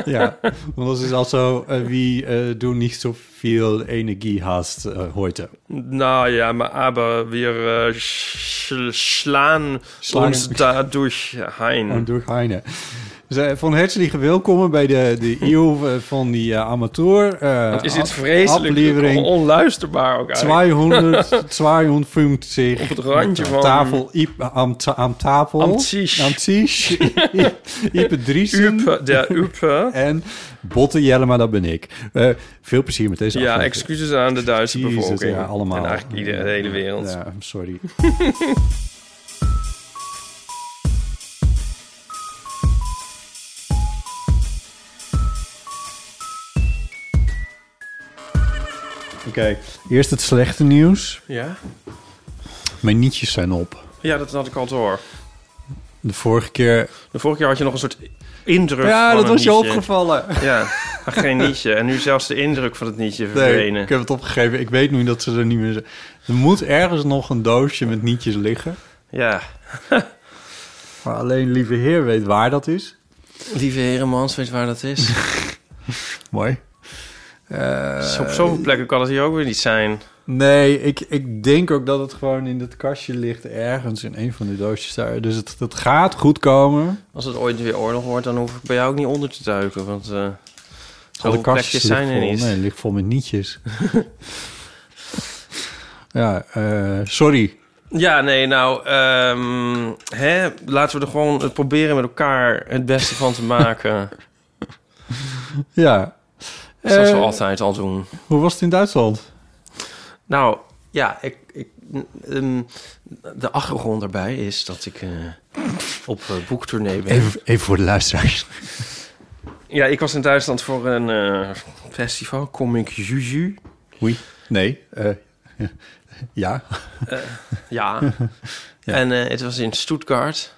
ja, want dat is also, eh, wie eh, du nicht so viel Energie hast eh, heute. Naja, aber wir äh, sch schlagen Schlagen. uns dadurch En ein. door Heine. Dus, eh, van herzlich welkom bij de, de eeuw eh, van die eh, amateur. eh, Is dit af- vreselijk on- Aflevering onluisterbaar ook 200, eigenlijk. 250. Op het randje van- Tafel, Iep, aan, ta- aan tafel. Aan Tisch. Aan Tisch. Iep- Iep Driessen. Upe, der Upe. En Botte Jellema, dat ben ik. Eh, veel plezier met deze Ja, aflevering. excuses aan de Duitse Jezus, bevolking. ja, allemaal. En eigenlijk ieder, de hele wereld. Ja, sorry. Oké, eerst het slechte nieuws. ja? Mijn nietjes zijn op. Ja, dat had ik al door. De vorige keer... De vorige keer had je nog een soort indruk Ja, van dat een was je nietje. opgevallen. Ja, maar geen nietje. En nu zelfs de indruk van het nietje Nee, verdwenen. ik heb het opgegeven. Ik weet nu dat ze er niet meer zijn. Er moet ergens nog een doosje met nietjes liggen. Ja. Maar alleen lieve heer weet waar dat is. Lieve herenmans, weet waar dat is? Mooi. Dus Eh, Op zoveel plekken kan het hier ook weer niet zijn. Nee, ik, ik denk ook dat het gewoon in dat kastje ligt ergens in een van de doosjes daar. Dus het, het gaat goed komen. Als het ooit weer oorlog wordt, dan hoef ik bij jou ook niet onder te duiken. Want eh Alle zoveel kastjes plekjes zijn er liggen vol. niet. Nee, het ligt vol met nietjes. ja, eh, sorry. Ja, nee, nou, ehm, hè, laten we er gewoon het proberen met elkaar het beste van te maken. Ja. Zoals we Eh, altijd al doen. Hoe was het in Duitsland? Nou, ja, ik, ik, n- ehm, de achtergrond daarbij is dat ik eh, op eh, boektournee ben. even voor de luisteraars. Ja, ik was in Duitsland voor een eh, festival, Comic Juju. Oei. Nee. eh, ja. Ja. En eh, het was in Stuttgart.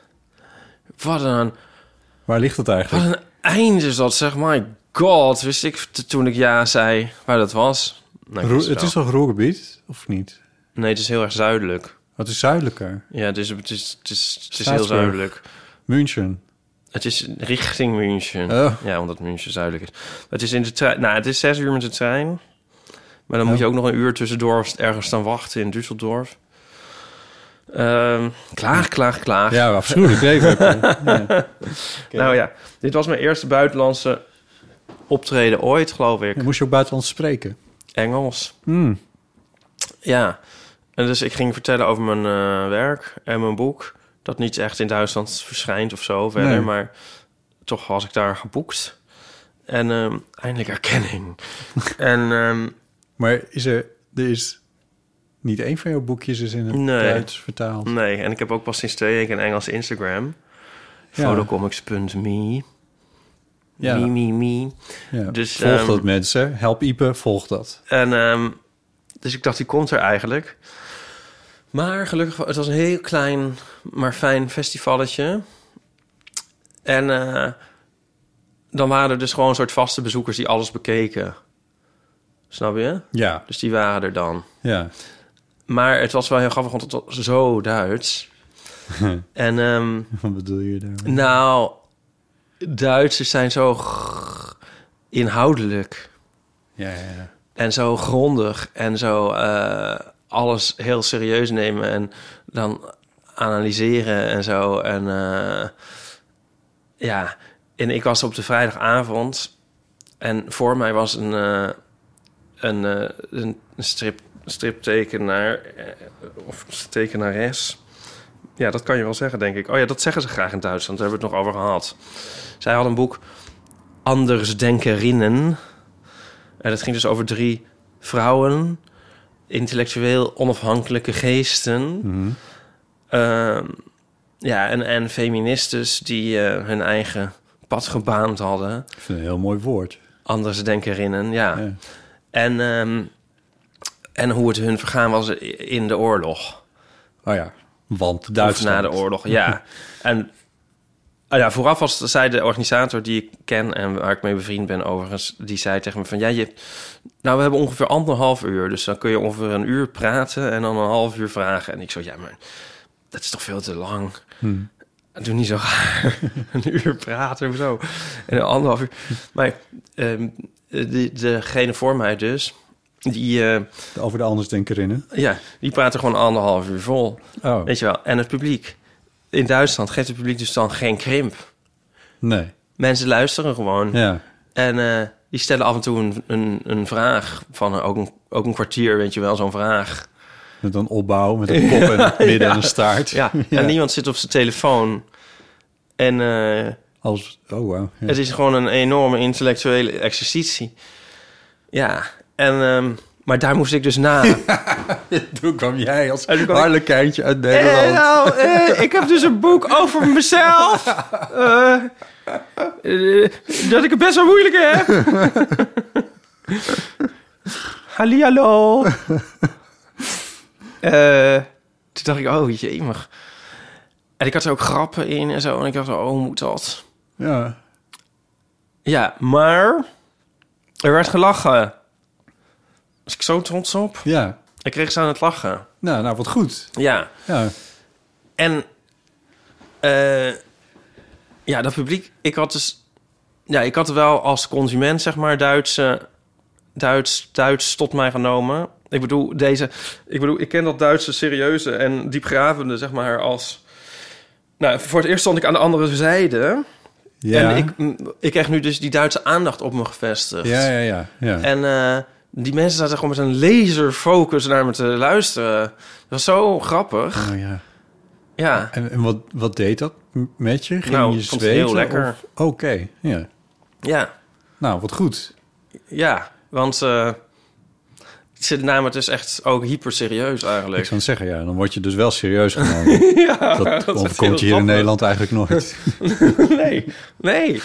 Wat een, Waar ligt het wat eigenlijk? een eind is dat, zeg. My god, wist ik t- toen ik ja zei waar dat was. Nee, ik Roer- wist het wel. is toch Roergebied? Of niet? nee, het is heel erg zuidelijk. Het is zuidelijker. Ja, het is, het is, het is, het is heel Straatsburg. zuidelijk. München. Het is richting München. Oh. Ja, omdat München zuidelijk is. Het is in de trein. Nou, het is zes uur met de trein. Maar dan moet je ook nog een uur tussendoor ergens staan wachten in Düsseldorf. Ehm, klaag, klaag, klaag. Ja, afschuwelijk. Nou ja, dit was mijn eerste buitenlandse Hm. optreden ooit, geloof ik. Moest je ook buitenlands spreken? Engels. Ja, en dus ik ging vertellen over mijn eh, werk en mijn boek. Dat niet echt in Duitsland verschijnt of zo verder, Nee. maar toch was ik daar geboekt. En ehm, eindelijk erkenning. en ehm, Maar is er, er is niet één van jouw boekjes is in het Nee. Duits vertaald. nee, en ik heb ook pas sinds twee weken een Engelse Instagram. Ja. Photocomics.me. Ja. Me, me, me. Ja. Dus, volg ehm, dat mensen. Help Ipe, volg dat. En ehm, dus ik dacht, die komt er eigenlijk. Maar gelukkig, wa- het was een heel klein, maar fijn festivalletje. En eh, dan waren er dus gewoon een soort vaste bezoekers die alles bekeken. Snap je? Ja, Dus die waren er dan. ja. Maar het was wel heel grappig, want het was zo Duits. en ehm, Wat bedoel je daarmee? nou, Duitsers zijn zo g- inhoudelijk. Ja, ja, ja. En zo grondig en zo eh, alles heel serieus nemen en dan analyseren en zo. En eh, ja, en ik was op de vrijdagavond en voor mij was een, eh, een, eh, een strip, striptekenaar eh, of tekenares. Ja, dat kan je wel zeggen, denk ik. Oh ja, dat zeggen ze graag in Duitsland. Daar hebben we het nog over gehad. Zij had een boek Andersdenkerinnen. En dat ging dus over drie vrouwen, intellectueel onafhankelijke geesten. Ehm, ja, en, en feministes die eh, hun eigen pad gebaand hadden. Ik vind het een heel mooi woord. Anders denkerinnen, ja. Ja. En, ehm, en hoe het hun vergaan was i- in de oorlog. Oh ja, want Of Duitsland. na de oorlog, ja. en ah ja, vooraf was zij de organisator die ik ken en waar ik mee bevriend ben overigens, die zei tegen me van ja, je, nou we hebben ongeveer anderhalf uur, dus dan kun je ongeveer een uur praten en dan een half uur vragen. En ik zo ja, maar dat is toch veel te lang. Doe niet zo raar. een uur praten of zo. En een anderhalf uur. Maar ehm, die, degene voor mij dus, die, eh, Over de andersdenkerinnen. ja, die praatte gewoon anderhalf uur vol. Oh, Weet je wel, en het publiek. In Duitsland geeft het publiek dus dan geen krimp. nee. Mensen luisteren gewoon. Ja, En eh, die stellen af en toe een, een, een vraag van eh, ook, een, ook een kwartier, weet je wel, zo'n vraag. met een opbouw, met een kop en een midden en een staart. Ja, en niemand zit op zijn telefoon. En eh, Als, oh wow. Ja. het is gewoon een enorme intellectuele exercitie. Ja, en, ehm, maar daar moest ik dus na. Toen kwam jij als toen kwam ik- harlekijntje uit Eh, Nederland. nou, eh, ik heb dus een boek over mezelf. Eh, eh, dat ik het best wel moeilijk heb. Hallihallo. Eh toen dacht ik, oh jemig. En ik had er ook grappen in en zo. En ik dacht, oh, hoe moet dat? Ja. Ja, maar er werd gelachen. Was ik zo trots op. ja, Ik kreeg ze aan het lachen. nou, nou wat goed. Ja. Ja, En eh, ja, dat publiek, ik had dus, ja, ik had wel als consument zeg maar Duitse, Duits, Duits tot mij genomen. Ik bedoel deze, ik bedoel, ik ken dat Duitse serieuze en diepgravende zeg maar als. Nou, voor het eerst stond ik aan de andere zijde ja. en ik, m, ik kreeg nu dus die Duitse aandacht op me gevestigd. ja, ja, ja. ja. En eh, die mensen zaten gewoon met een laserfocus naar me te luisteren. Dat was zo grappig. Oh, ja. Ja. En, en wat, wat deed dat m- met je? Ging Nou, je ik vond zweten? het heel lekker. of- Oké, ja. Ja, Nou, wat goed. ja. Want eh, ze namen het dus echt ook hyper serieus Ik eigenlijk. zou het zeggen, ja, dan word je dus wel serieus genomen. ja, dat is overkomt je heel hier in grappig. Nederland eigenlijk nooit. Nee, nee.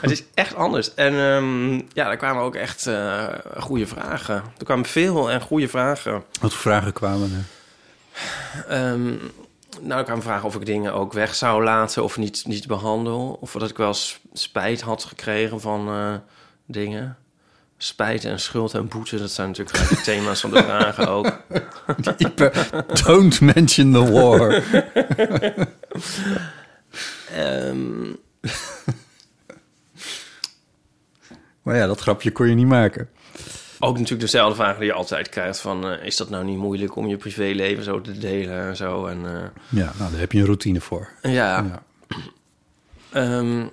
Het is echt anders. En ehm, ja, er kwamen ook echt eh, goede vragen. Er kwamen veel en goede vragen. wat voor vragen kwamen er? Ehm, nou, ik kwam vragen of ik dingen ook weg zou laten of niet, niet behandel. Of dat ik wel s- spijt had gekregen van eh, dingen. Spijt en schuld en boete, dat zijn natuurlijk eigenlijk de thema's van de vragen ook. Ipe, don't mention the war. Ehm, Maar ja, dat grapje kon je niet maken. Ook natuurlijk dezelfde vragen die je altijd krijgt van... eh, is dat nou niet moeilijk om je privéleven zo te delen en zo? En, eh, Ja, nou, daar heb je een routine voor. ja. Ja. Ehm.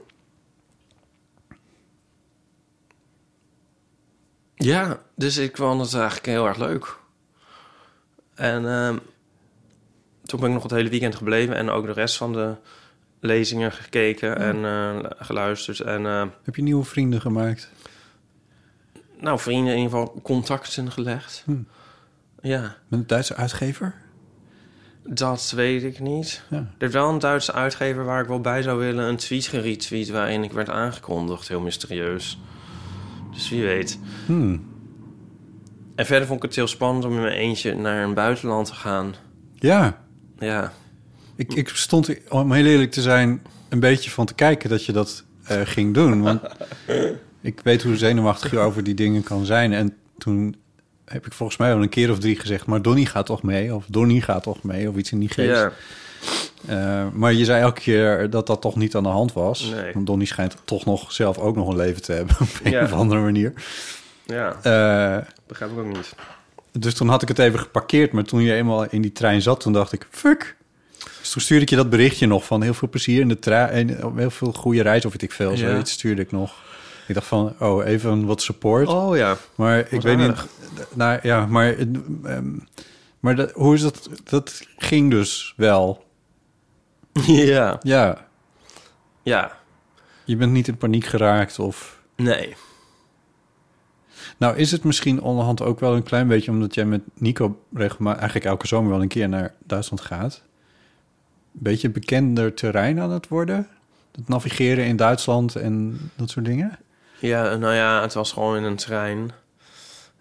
ja, dus ik vond het eigenlijk heel erg leuk. En ehm, toen ben ik nog het hele weekend gebleven en ook de rest van de lezingen gekeken en eh, geluisterd. En eh, Heb je nieuwe vrienden gemaakt? nou, vrienden in ieder geval contacten gelegd. Ja, Met een Duitse uitgever? dat weet ik niet. Ja. Er is wel een Duitse uitgever waar ik wel bij zou willen. Een tweet geretweet waarin ik werd aangekondigd. Heel mysterieus. Dus wie weet. Hmm. En verder vond ik het heel spannend om in mijn eentje naar een buitenland te gaan. Ja, Ja, ik, ik stond, er, om heel eerlijk te zijn, een beetje van te kijken dat je dat eh, ging doen. Want ik weet hoe zenuwachtig je over die dingen kan zijn. En toen heb ik volgens mij al een keer of drie gezegd... maar Donnie gaat toch mee? Of Donnie gaat toch mee? Of iets in die geest. ja. Eh, maar je zei elke keer dat dat toch niet aan de hand was. Nee. Want Donnie schijnt toch nog zelf ook nog een leven te hebben... op een Ja. of andere manier. ja. Eh, begrijp ik ook niet. dus toen had ik het even geparkeerd. Maar toen je eenmaal in die trein zat, toen dacht ik, fuck. Dus toen stuurde ik je dat berichtje nog van heel veel plezier in de trein. En heel veel goede reis of weet ik veel. Ja. Zoiets stuurde ik nog. Ik dacht van, oh, even wat support. Oh ja. maar ik wat weet niet... aardig. Nou ja, maar... eh, ehm, maar dat, hoe is dat? Dat ging dus wel. ja. Ja, Ja. je bent niet in paniek geraakt of... Nee. Nou, is het misschien onderhand ook wel een klein beetje... omdat jij met Nico regelmatig eigenlijk elke zomer wel een keer naar Duitsland gaat... een beetje bekender terrein aan het worden? Het navigeren in Duitsland en dat soort dingen? Ja, nou ja, het was gewoon in een trein.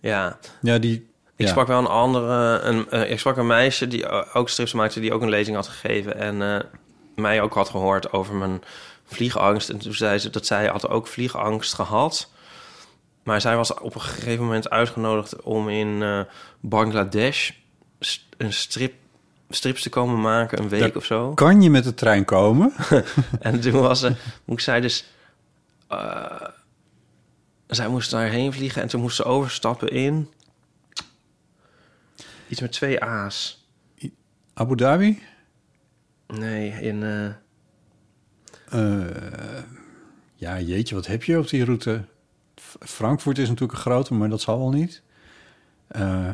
Ja. Ja, die... Ik ja. sprak wel een andere... Een, eh, ik sprak een meisje die o- ook strips maakte... die ook een lezing had gegeven. En eh, mij ook had gehoord over mijn vliegangst. En toen zei ze dat zij had ook vliegangst gehad. Maar zij was op een gegeven moment uitgenodigd... om in eh, Bangladesh st- een strip, strips te komen maken. Een week Daar- of zo. Kan je met de trein komen? En toen was ze, moest zij dus. eh, zij moest daarheen vliegen en toen moest ze overstappen in. Iets met twee A's. Abu Dhabi? Nee, in. eh, Eh, ja, jeetje, wat heb je op die route? F- Frankfurt is natuurlijk een grote, maar dat zal wel niet. Eh,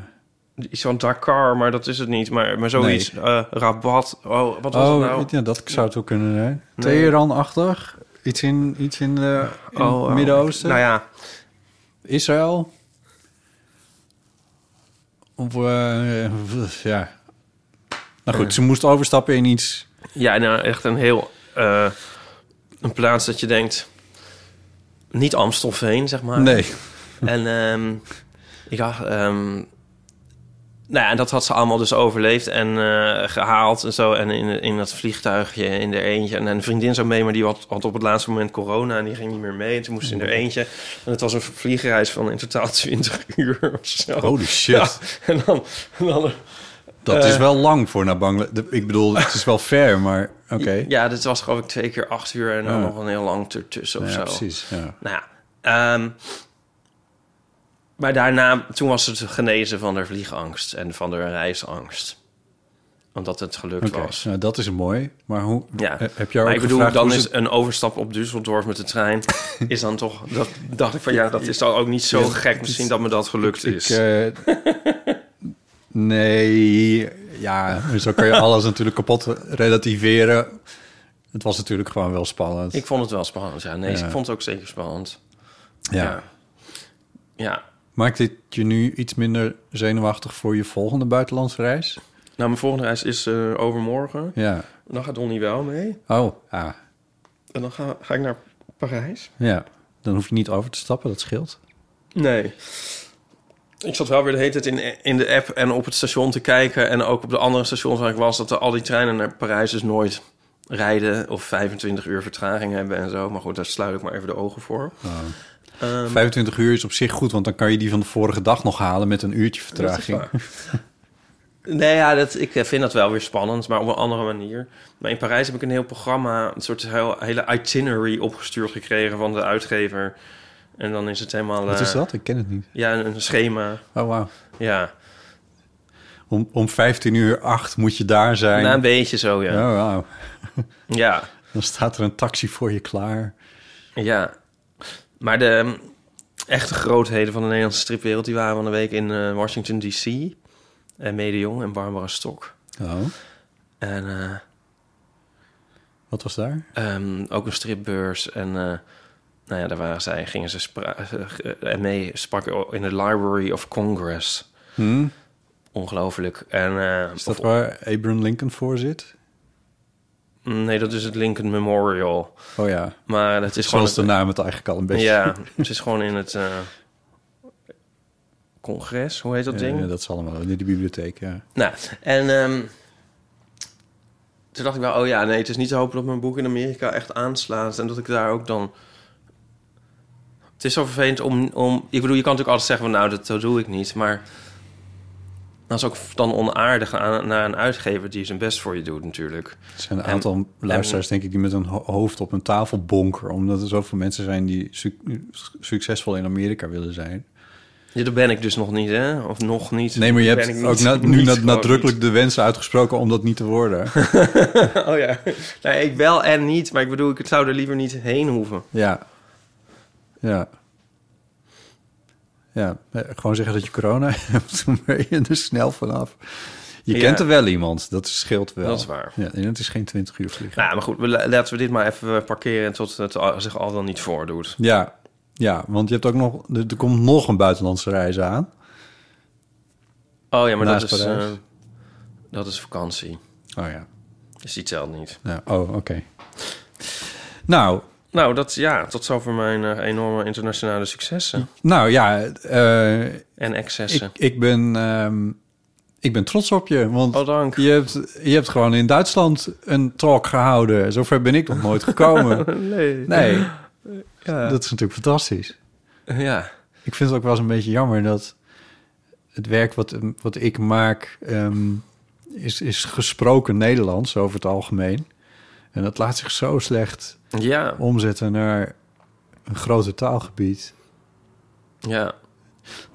iets van Dakar, maar dat is het niet. Maar, maar zoiets. Nee. eh, Rabat. Oh, wat was oh, het nou? ja, dat zou het ook kunnen zijn. Nee. Teheran-achtig? Iets in, iets in, eh, in Oh, het oh. Midden-Oosten? Nou ja, Israël. Of, eh, pff, ja. Nou goed, ze moest overstappen in iets. ja nou, echt een heel. eh, een plaats dat je denkt. Niet Amstelveen, zeg maar. Nee. En ehm, ik dacht, ehm, nou ja, en dat had ze allemaal dus overleefd en eh, gehaald en zo. En in, in dat vliegtuigje, in de eentje. En een vriendin zou mee, maar die had, had op het laatste moment corona en die ging niet meer mee. En toen moest ze in er eentje. En het was een vliegreis van in totaal 20 uur of zo. Holy shit. Ja, en dan, en dan Dat Eh. is wel lang voor naar Bangladesh. Ik bedoel, het is wel fair, maar oké. Ja, ja, dit was geloof ik twee keer acht uur en dan Ja. nog een heel lang ertussen of zo. precies. Ja. Nou ja, ehm, maar daarna, toen was het genezen van de vliegangst en van de reisangst. Omdat het gelukt Oké, was. nou, dat is mooi. Maar hoe Ja, eh, heb jij maar ook ik bedoel, gevraagd dan hoe is ze- een overstap op Düsseldorf met de trein... is dan toch, dat dacht ik van ja, dat is dan ook niet zo gek misschien dat me dat gelukt Ik, is. eh, nee, ja, zo kan je alles natuurlijk kapot relativeren. Het was natuurlijk gewoon wel spannend. ik vond het wel spannend, ja. Nee, Ja. ik vond het ook zeker spannend. ja. Ja. ja. Maakt dit je nu iets minder zenuwachtig voor je volgende buitenlandse reis? Nou, mijn volgende reis is eh, overmorgen. Ja. Dan gaat Donnie wel mee. Oh, ah, En dan ga, ga ik naar Parijs. ja. Dan hoef je niet over te stappen, dat scheelt. Nee. Ik zat wel weer de hele tijd in, in de app en op het station te kijken. En ook op de andere stations waar ik was... dat er al die treinen naar Parijs dus nooit rijden... of 25 uur vertraging hebben en zo. Maar goed, daar sluit ik maar even de ogen voor. Ah. Ehm, 25 uur is op zich goed, want dan kan je die van de vorige dag nog halen met een uurtje vertraging. Dat nee, ja, dat, ik eh, vind dat wel weer spannend, maar op een andere manier. Maar in Parijs heb ik een heel programma... een soort heel, hele itinerary opgestuurd gekregen van de uitgever. En dan is het helemaal... Wat eh, is dat? Ik ken het niet. Ja, een een schema, Oh, wauw. ja. Om, om 15 uur 8 moet je daar zijn. Nou, een beetje zo, ja. Oh, wauw. Ja. Dan staat er een taxi voor je klaar. Ja, maar de ehm, echte grootheden van de Nederlandse stripwereld... die waren van de week in eh, Washington D.C. En Mede Jong en Barbara Stok. Oh, En eh, wat was daar? Ehm, ook een stripbeurs. En eh, nou ja, daar waren zij, gingen ze spra- eh, en mee sprak in de Library of Congress. Hm? Hmm? Ongelooflijk. En, eh, Is dat of- waar Abraham Lincoln voor zit? Mm, Nee, dat is het Lincoln Memorial. Oh ja, Maar het is zoals de gewoon... naam het eigenlijk al een beetje... ja, het is gewoon in het... eh, congres, hoe heet dat Ja, ding? ja, dat is allemaal in de bibliotheek, ja. Nou, en ehm, toen dacht ik wel, oh ja, nee, het is niet te hopen dat mijn boek in Amerika echt aanslaat en dat ik daar ook dan. Het is zo vervelend om, om. Ik bedoel, je kan natuurlijk altijd zeggen van, nou, dat, dat doe ik niet, maar dat is ook dan onaardig aan, naar een uitgever die zijn best voor je doet natuurlijk. Er zijn een En- aantal luisteraars, denk ik, die met hun ho- hoofd op een tafel bonkeren. Omdat er zoveel mensen zijn die suc- succesvol in Amerika willen zijn. Ja, dat ben ik dus nog niet, hè? Of nog niet. Nee, maar je Dat hebt ben ik ook niet. na- nu Niet, na- gewoon nadrukkelijk de wensen uitgesproken om dat niet te worden. niet. Oh ja. Nee, ik wel en niet, maar ik bedoel, ik zou er liever niet heen hoeven. ja. Ja. Ja, eh, gewoon zeggen dat je corona hebt, dan ben je er snel vanaf. Je Ja. kent er wel iemand, dat scheelt wel. Dat is waar. Ja, en het is geen 20 uur vliegen. Nou, maar goed, we- laten we dit maar even eh, parkeren tot het al- zich al dan niet voordoet. Ja, ja want je hebt ook nog, er er komt nog een buitenlandse reis aan. Oh ja, maar Naast dat is, Parijs. eh, dat is vakantie. Oh ja. Dus die telt niet. Ja, oh, oké. Nou, Nou, dat, ja, tot zover mijn eh, enorme internationale successen nou ja, eh, en ik, excessen. ik, ben, ehm, ik ben trots op je. Want Oh, dank. je, hebt, je hebt gewoon in Duitsland een talk gehouden. Zover ben ik nog nooit gekomen. Nee. Nee, dat is natuurlijk fantastisch. Ja. Ik vind het ook wel eens een beetje jammer dat het werk wat, wat ik maak... ehm, is, is gesproken Nederlands over het algemeen. En dat laat zich zo slecht Ja. omzetten naar een groter taalgebied. Ja.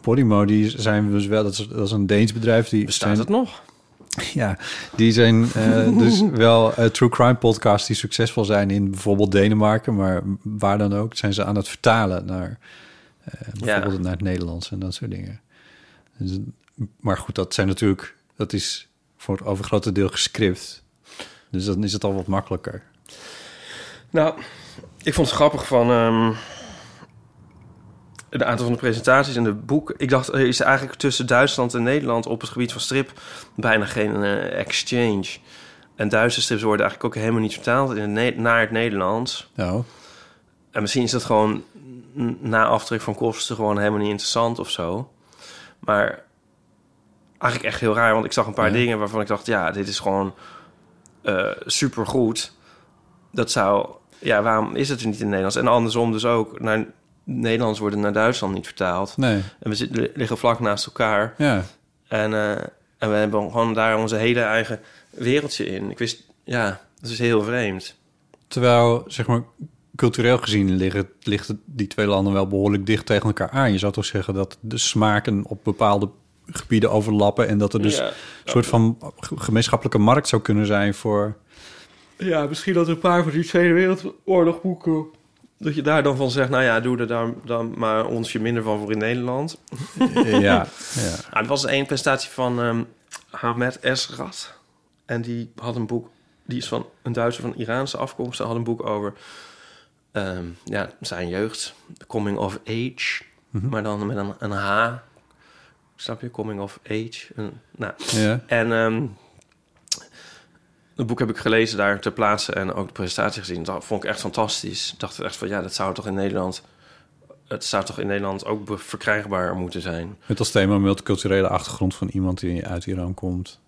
Podimo, die zijn dus wel, dat is, dat is een Deens bedrijf. Die Bestaat zijn, het nog? Ja, die zijn eh, dus wel eh, true crime podcasts die succesvol zijn in bijvoorbeeld Denemarken, maar waar dan ook, zijn ze aan het vertalen naar eh, bijvoorbeeld naar het Nederlands en dat soort dingen. Dus, maar goed, dat zijn natuurlijk, dat is voor het overgrote deel gescript. Dus dan is het al wat makkelijker. Nou, ik vond het grappig van... ehm de aantal van de presentaties en de boek. Ik dacht, er is eigenlijk tussen Duitsland en Nederland... op het gebied van strip bijna geen eh, exchange. En Duitse strips worden eigenlijk ook helemaal niet vertaald... In het Ne- naar het Nederlands. Nou, En misschien is dat gewoon n- na aftrek van kosten gewoon helemaal niet interessant of zo. Maar eigenlijk echt heel raar, want ik zag een paar Ja. dingen waarvan ik dacht, ja, dit is gewoon super supergoed. Dat zou, ja, waarom is het er niet in het Nederlands? En andersom dus ook, naar Nederlands worden naar Duitsland niet vertaald. nee, En we zitten, liggen vlak naast elkaar. ja, En, eh, en we hebben gewoon daar onze hele eigen wereldje in. Ik wist, ja, dat is heel vreemd. Terwijl, zeg maar, cultureel gezien liggen, liggen die twee landen wel behoorlijk dicht tegen elkaar aan. Je zou toch zeggen dat de smaken op bepaalde gebieden overlappen en dat er dus Ja. een soort van gemeenschappelijke markt zou kunnen zijn voor. Ja, misschien dat een paar van die Tweede Wereldoorlogboeken... Dat je daar dan van zegt, nou ja, doe er daar dan maar onsje minder van voor in Nederland. eh, ja, ja. Ah, er was één prestatie van ehm Ahmed Esrat. En die had een boek, die is van een Duitser van Iraanse afkomst. Ze had een boek over ehm, ja, zijn jeugd, The Coming of Age. Maar dan met een, een H. Snap je? Coming of Age. Een, nou, ja. en ehm het boek heb ik gelezen daar ter plaatse en ook de presentatie gezien. Dat vond ik echt fantastisch. Ik dacht echt van ja, dat zou toch in Nederland. Het zou toch in Nederland ook be- verkrijgbaar moeten zijn. Met als thema multiculturele achtergrond van iemand die uit Iran komt.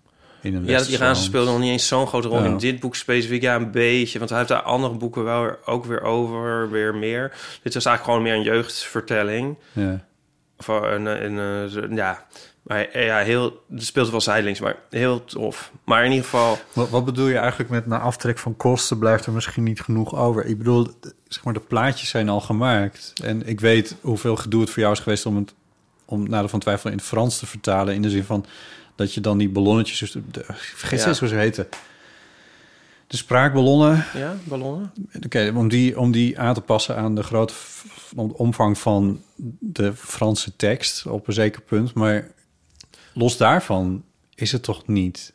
In een Ja, dat Iraanse speelde nog niet eens zo'n grote rol Ja. in dit boek specifiek. Ja, een beetje. Want hij heeft daar andere boeken wel weer- ook weer over, weer meer. Dit was eigenlijk gewoon meer een jeugdvertelling. Ja. Van een, eh, een, een- ja, maar eh, ja, heel. Het speelt wel zijdelings, maar heel tof. Maar in ieder geval. Wat, wat bedoel je eigenlijk met na aftrek van kosten blijft er misschien niet genoeg over? Ik bedoel, d- zeg maar, de plaatjes zijn al gemaakt. En ik weet hoeveel gedoe het voor jou is geweest om het om Nadeel van Twijfel in het Frans te vertalen. In de zin van dat je dan die ballonnetjes... Dus de, de- ik vergeet Ja. steeds hoe ze heten. De spraakballonnen, Ja, ballonnen? oké, om, die, om die aan te passen aan de grote f- om- omvang van de Franse tekst op een zeker punt. Maar los daarvan is het toch niet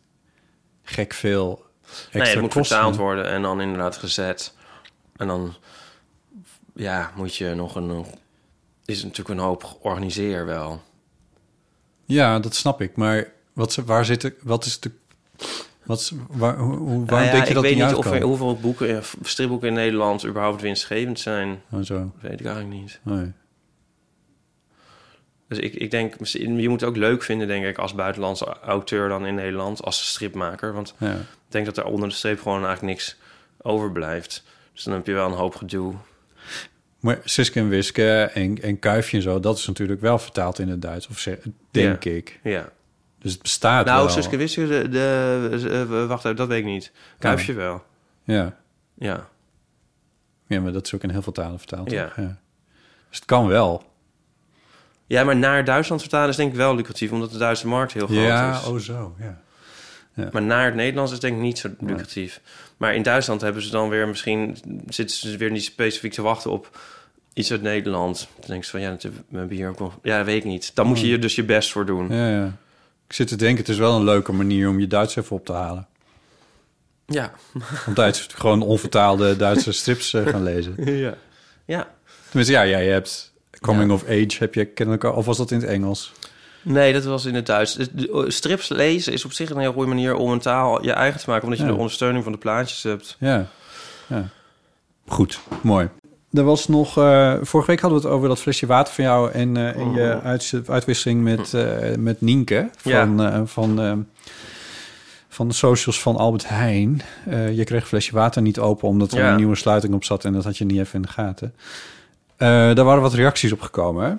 gek veel extra nee, het moet kosten? vertaald worden en dan inderdaad gezet. En dan ja, moet je nog een... een- Is natuurlijk een hoop georganiseerd wel. Ja, dat snap ik. Maar wat, ze- waar zit ik, wat is de... Wat, is- waar, hoe, hoe- waarom Nou ja, denk je dat Ik niet weet niet of uitkomt? er, hoeveel boeken, eh, stripboeken in Nederland überhaupt winstgevend zijn. Oh, zo. Dat weet ik eigenlijk niet. Nee. Dus ik, ik denk, misschien- je moet het ook leuk vinden, denk ik, als buitenlandse auteur dan in Nederland, als stripmaker. Want Ja. ik denk dat er onder de streep gewoon eigenlijk niks overblijft. Dus dan heb je wel een hoop gedoe. Maar Siske en Wiske en, en Kuifje en zo, dat is natuurlijk wel vertaald in het Duits. Of ze- denk Ja. ik. Ja. Dus het bestaat Nou, wel. Suske Wiske, de, de- eh, wacht even, dat weet ik niet. Kuifje wel. Ja. Ja. ja, maar dat is ook in heel veel talen vertaald. Ja. toch? Dus het kan wel. ja, maar naar Duitsland vertalen is denk ik wel lucratief, omdat de Duitse markt heel groot Ja, is. oh zo, ja. Maar naar het Nederlands is denk ik niet zo lucratief. Maar in Duitsland hebben ze dan weer misschien... zitten ze weer niet specifiek te wachten op iets uit Nederland. Dan denk je van, ja, dat hebben we hebben hier ook wel... Ja, weet ik niet. Dan moet je hier dus je best voor doen. Ja, Mm. Ja, ja. Ik zit te denken, het is wel een leuke manier om je Duits even op te halen. ja. Om Duits gewoon onvertaalde Duitse strips eh, gaan lezen. Tenminste, ja, jij hebt Coming of Age, heb je kennelijk al. Of was dat in het Engels? Nee, dat was in het Duits. Dus de- Strips lezen is op zich een heel goede manier om een taal je eigen te maken... omdat je Ja. de ondersteuning van de plaatjes hebt. Ja. ja. Goed, mooi. Er was nog, eh, vorige week hadden we het over dat flesje water van jou en, eh, en je uits- uitwisseling met, eh, met Nienke van, eh, van, eh, van de socials van Albert Heijn. Eh, je kreeg een flesje water niet open omdat er Ja. een nieuwe sluiting op zat en dat had je niet even in de gaten. Eh, daar waren wat reacties op gekomen. Hè?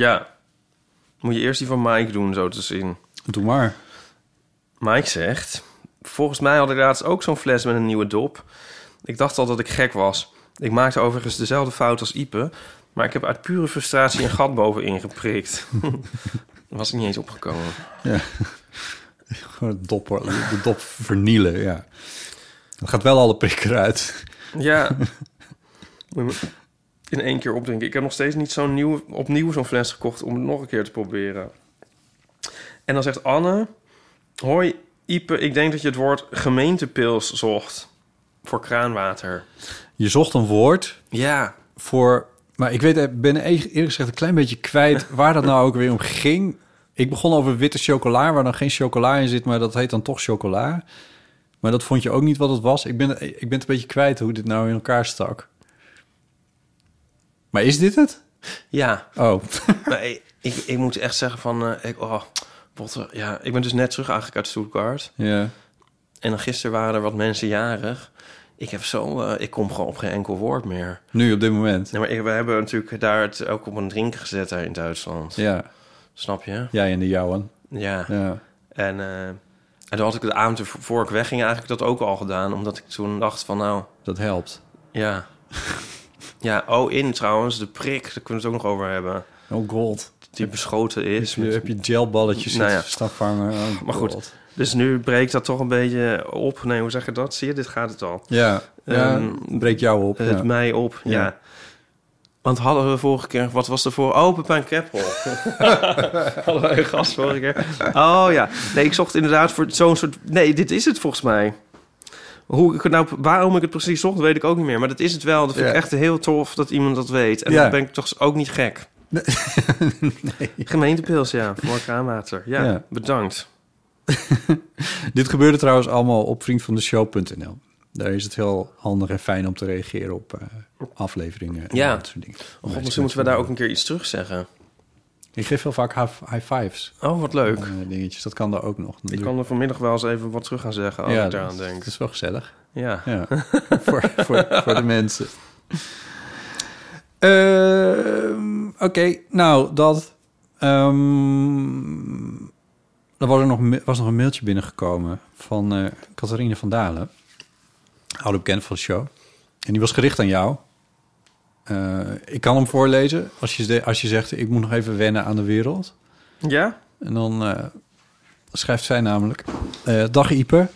Ja. Moet je eerst die van Mike doen, zo te zien. Doe maar. Mike zegt... Volgens mij had ik laatst ook zo'n fles met een nieuwe dop. Ik dacht al dat ik gek was. Ik maakte overigens dezelfde fout als Ipe... maar ik heb uit pure frustratie een gat bovenin geprikt. was ik niet eens opgekomen. Gewoon het dop, de dop vernielen, ja. Dan gaat wel alle prik eruit. Ja. Moet je me In één keer opdrinken. Ik heb nog steeds niet zo'n nieuw, opnieuw zo'n fles gekocht... om het nog een keer te proberen. En dan zegt Anne... Hoi Ipe, ik denk dat je het woord gemeentepils zocht... voor kraanwater. Je zocht een woord Ja, voor... Maar ik weet, ik ben e- eerlijk gezegd een klein beetje kwijt... waar dat nou ook weer om ging. Ik begon over witte chocola, waar dan geen chocola in zit... maar dat heet dan toch chocola. Maar dat vond je ook niet wat het was. Ik ben, eh, ik ben het een beetje kwijt hoe dit nou in elkaar stak. Maar is dit het? Ja, Oh, maar ik, ik, ik moet echt zeggen van... eh, ik, oh, botter, ja, ik ben dus net terug eigenlijk uit Stuttgart. ja. En dan gisteren waren er wat mensen jarig. Ik heb zo... eh, ik kom gewoon op geen enkel woord meer. Nu op dit moment. Nee, maar ik- we hebben natuurlijk daar het ook op een drinken gezet daar in Duitsland. Ja, Snap je? jij en de jouwen. Ja. Ja. En, eh, en toen had ik de avond ervoor voor ik wegging eigenlijk dat ook al gedaan. Omdat ik toen dacht van nou, Dat helpt. ja... Ja, oh, in trouwens, de prik, daar kunnen we het ook nog over hebben. Oh, gold. Die beschoten is. Je, met- heb je gelballetjes Nou ja. zitten stapvangen. Oh, Maar goed. God. Dus nu breekt dat toch een beetje op. Nee, hoe zeg je dat? Zie je, dit gaat het al. Ja, ja Ehm, breek jou op. Het ja. mij op, ja. Ja. Want hadden we vorige keer... Wat was er voor? Oh, Pepijn Keppel. hadden we een gast vorige keer. Oh ja. Nee, ik zocht inderdaad voor zo'n soort... Nee, dit is het volgens mij. Hoe ik het nou, waarom ik het precies zocht, weet ik ook niet meer. Maar dat is het wel. Dat vind Ja. ik echt heel tof dat iemand dat weet. En Ja. dan ben ik toch ook niet gek. Gemeentepils, ja. Voor kraanwater. Ja, Ja. bedankt. Dit gebeurde trouwens allemaal op vriendvandeshow.nl. Daar is het heel handig en fijn om te reageren op eh, afleveringen. En Ja. dat soort dingen. Oh, God, misschien moeten we daar ook een keer iets terug zeggen. Ik geef heel vaak high, high fives. Oh, wat leuk. en, eh, dingetjes, dat kan daar ook nog. Ik kan er vanmiddag wel eens even wat terug gaan zeggen als ik daaraan dat, denk. dat is wel gezellig. Ja. Ja, voor, voor, voor de mensen. Ehm, Oké, nou, dat... ehm, er was, er nog, me- was nog een mailtje binnengekomen van eh Catharine van Dalen. Oude bekend van de show. En die was gericht aan jou. Eh, ik kan hem voorlezen als je, ze- als je zegt... ik moet nog even wennen aan de wereld. Ja? En dan eh, schrijft zij namelijk... eh, Dag Ieper,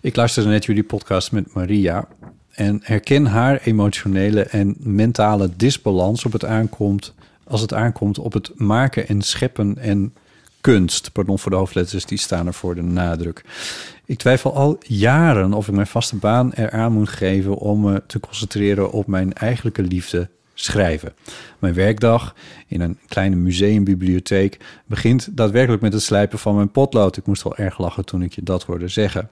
ik luisterde net jullie podcast met Maria... en herken haar emotionele en mentale disbalans op het aankomt, als het aankomt op het maken en scheppen en kunst. Pardon voor de hoofdletters, die staan er voor de nadruk. Ik twijfel al jaren of ik mijn vaste baan eraan moet geven om me te concentreren op mijn eigenlijke liefde schrijven. Mijn werkdag in een kleine museumbibliotheek begint daadwerkelijk met het slijpen van mijn potlood. Ik moest wel erg lachen toen ik je dat hoorde zeggen.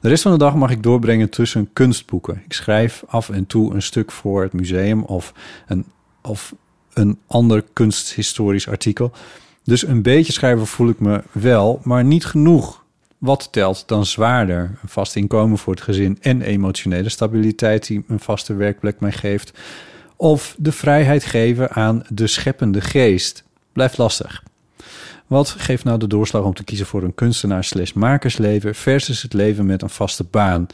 De rest van de dag mag ik doorbrengen tussen kunstboeken. Ik schrijf af en toe een stuk voor het museum of een, of een ander kunsthistorisch artikel. Dus een beetje schrijven voel ik me wel, maar niet genoeg. Wat telt dan zwaarder? Een vast inkomen voor het gezin en emotionele stabiliteit die een vaste werkplek mij geeft. Of de vrijheid geven aan de scheppende geest. Blijft lastig. Wat geeft nou de doorslag om te kiezen voor een kunstenaar slash makersleven versus het leven met een vaste baan?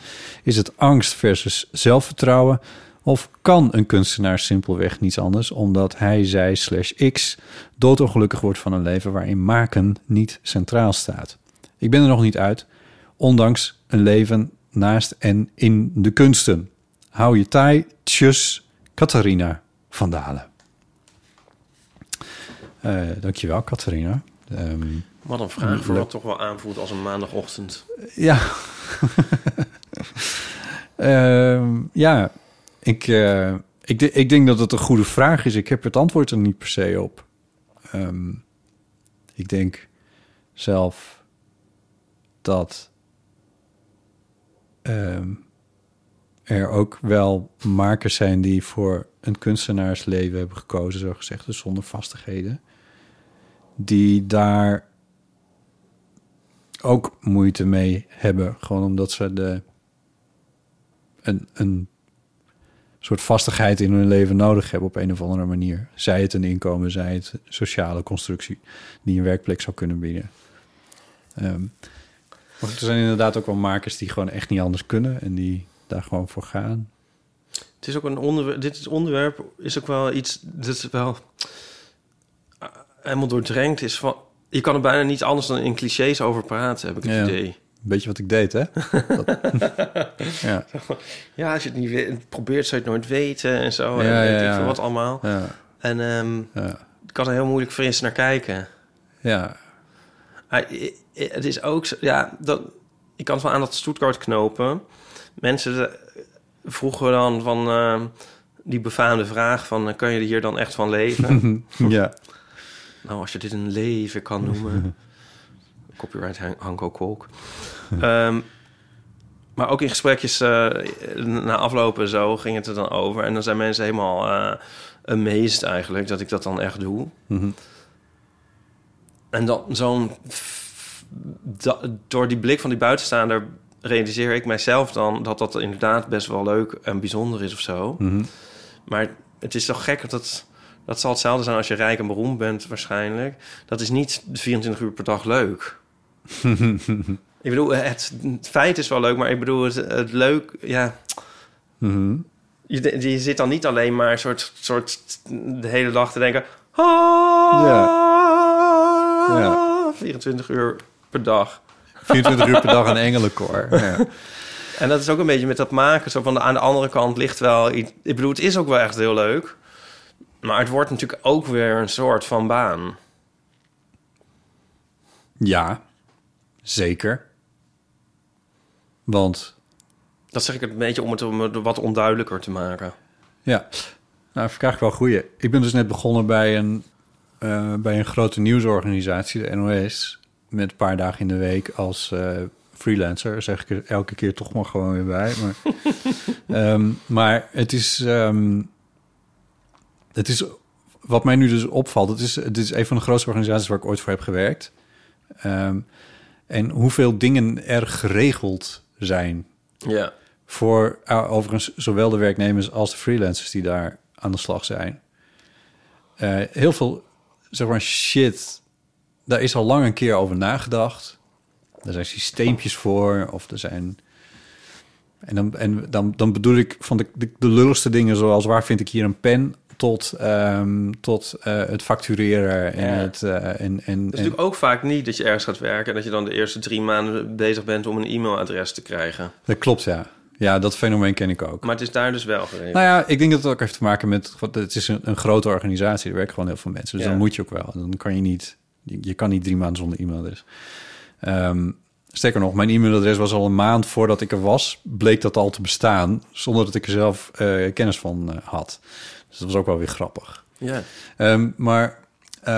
Is het angst versus zelfvertrouwen? Of kan een kunstenaar simpelweg niets anders omdat hij, zij slash x doodongelukkig wordt van een leven waarin maken niet centraal staat? Ik ben er nog niet uit, ondanks een leven naast en in de kunsten. Hou je taai, tjus, Catharina van Dalen. Eh, dankjewel, Catharina. Ehm, Wat een vraag voor wat toch wel aanvoelt als een maandagochtend. ja. Ehm, ja, ik, eh, ik, de- ik denk dat het een goede vraag is. Ik heb het antwoord er niet per se op. Ehm, ik denk zelf dat ehm, er ook wel makers zijn die voor een kunstenaarsleven hebben gekozen, zo gezegd, dus zonder vastigheden, die daar ook moeite mee hebben. Gewoon omdat ze de, een, een soort vastigheid in hun leven nodig hebben op een of andere manier. Zij het een inkomen, zij het een sociale constructie die een werkplek zou kunnen bieden. Ehm, maar er zijn inderdaad ook wel makers die gewoon echt niet anders kunnen en die daar gewoon voor gaan. Het is ook een onderwerp. Dit is- onderwerp is ook wel iets dat wel eh, helemaal doordrenkt is van. Je kan er bijna niet anders dan in clichés over praten, heb ik het Ja. idee. Weet je wat ik deed, hè? Dat- ja. Ja, als je het niet weet, probeert, zou je het nooit weten en zo. Ja, en ja, weet ik ja. veel wat allemaal. Ja, En ehm, ja, ik kan er heel moeilijk fris naar kijken. ja, Maar i- i- het is ook, zo- ja, dat, ik kan het wel aan dat Stuttgart knopen. Mensen eh, vroegen dan van eh, die befaamde vraag van, eh, kan je hier dan echt van leven? ja. nou, als je dit een leven kan noemen. Copyright Han- Hanko Kolk. Ehm, maar ook in gesprekjes eh, na aflopen en zo ging het er dan over. En dan zijn mensen helemaal eh amazed eigenlijk dat ik dat dan echt doe. Mhm. En dan zo'n... f- da- door die blik van die buitenstaander realiseer ik mijzelf dan... dat dat inderdaad best wel leuk en bijzonder is of zo. Mhm. Maar het is toch gek dat dat... Dat zal hetzelfde zijn als je rijk en beroemd bent waarschijnlijk. Dat is niet 24 uur per dag leuk. ik bedoel, het, het feit is wel leuk, maar ik bedoel, het, het leuk... Ja, Mhm. je, de- je zit dan niet alleen maar een soort, soort de hele dag te denken... Ah, Ja. 24 uur per dag. 24 uur per dag een engelenkoor. Ja. En dat is ook een beetje met dat maken. Zo van aan de andere kant ligt wel... iets- Ik bedoel, het is ook wel echt heel leuk. Maar het wordt natuurlijk ook weer een soort van baan. Ja, zeker. Want, Dat zeg ik het een beetje om het om het wat onduidelijker te maken. ja, nou vraag ik wel goeie. Ik ben dus net begonnen bij een, eh, bij een grote nieuwsorganisatie, de NOS, met een paar dagen in de week als eh, freelancer. Zeg ik er elke keer toch maar gewoon weer bij. Maar, Ehm, maar het is, ehm, het is, wat mij nu dus opvalt, het is, het is een van de grootste organisaties waar ik ooit voor heb gewerkt. Ehm, en hoeveel dingen er geregeld zijn Ja. voor uh, overigens zowel de werknemers als de freelancers die daar aan de slag zijn. Eh, heel veel, zeg maar, shit, daar is al lang een keer over nagedacht. Er zijn systeempjes voor, of er zijn... En dan, en dan, dan bedoel ik van de, de, de lulligste dingen, zoals waar vind ik hier een pen, tot, ehm, tot eh, het factureren en Ja. het... eh, en, en, en- Het is natuurlijk ook vaak niet dat je ergens gaat werken... en dat je dan de eerste drie maanden bezig bent om een e-mailadres te krijgen. Dat klopt, ja. Ja, dat fenomeen ken ik ook. Maar het is daar dus wel geregeld. Nou ja, ik denk dat het ook heeft te maken met... Het is een, een grote organisatie, er werken gewoon heel veel mensen. Dus Ja. dan moet je ook wel. Dan kan je niet Je, je kan niet drie maanden zonder e-mailadres. Ehm sterker nog, mijn e-mailadres was al een maand voordat ik er was, bleek dat al te bestaan, zonder dat ik er zelf eh, kennis van eh, had. Dus dat was ook wel weer grappig. Ja. Ehm, maar eh,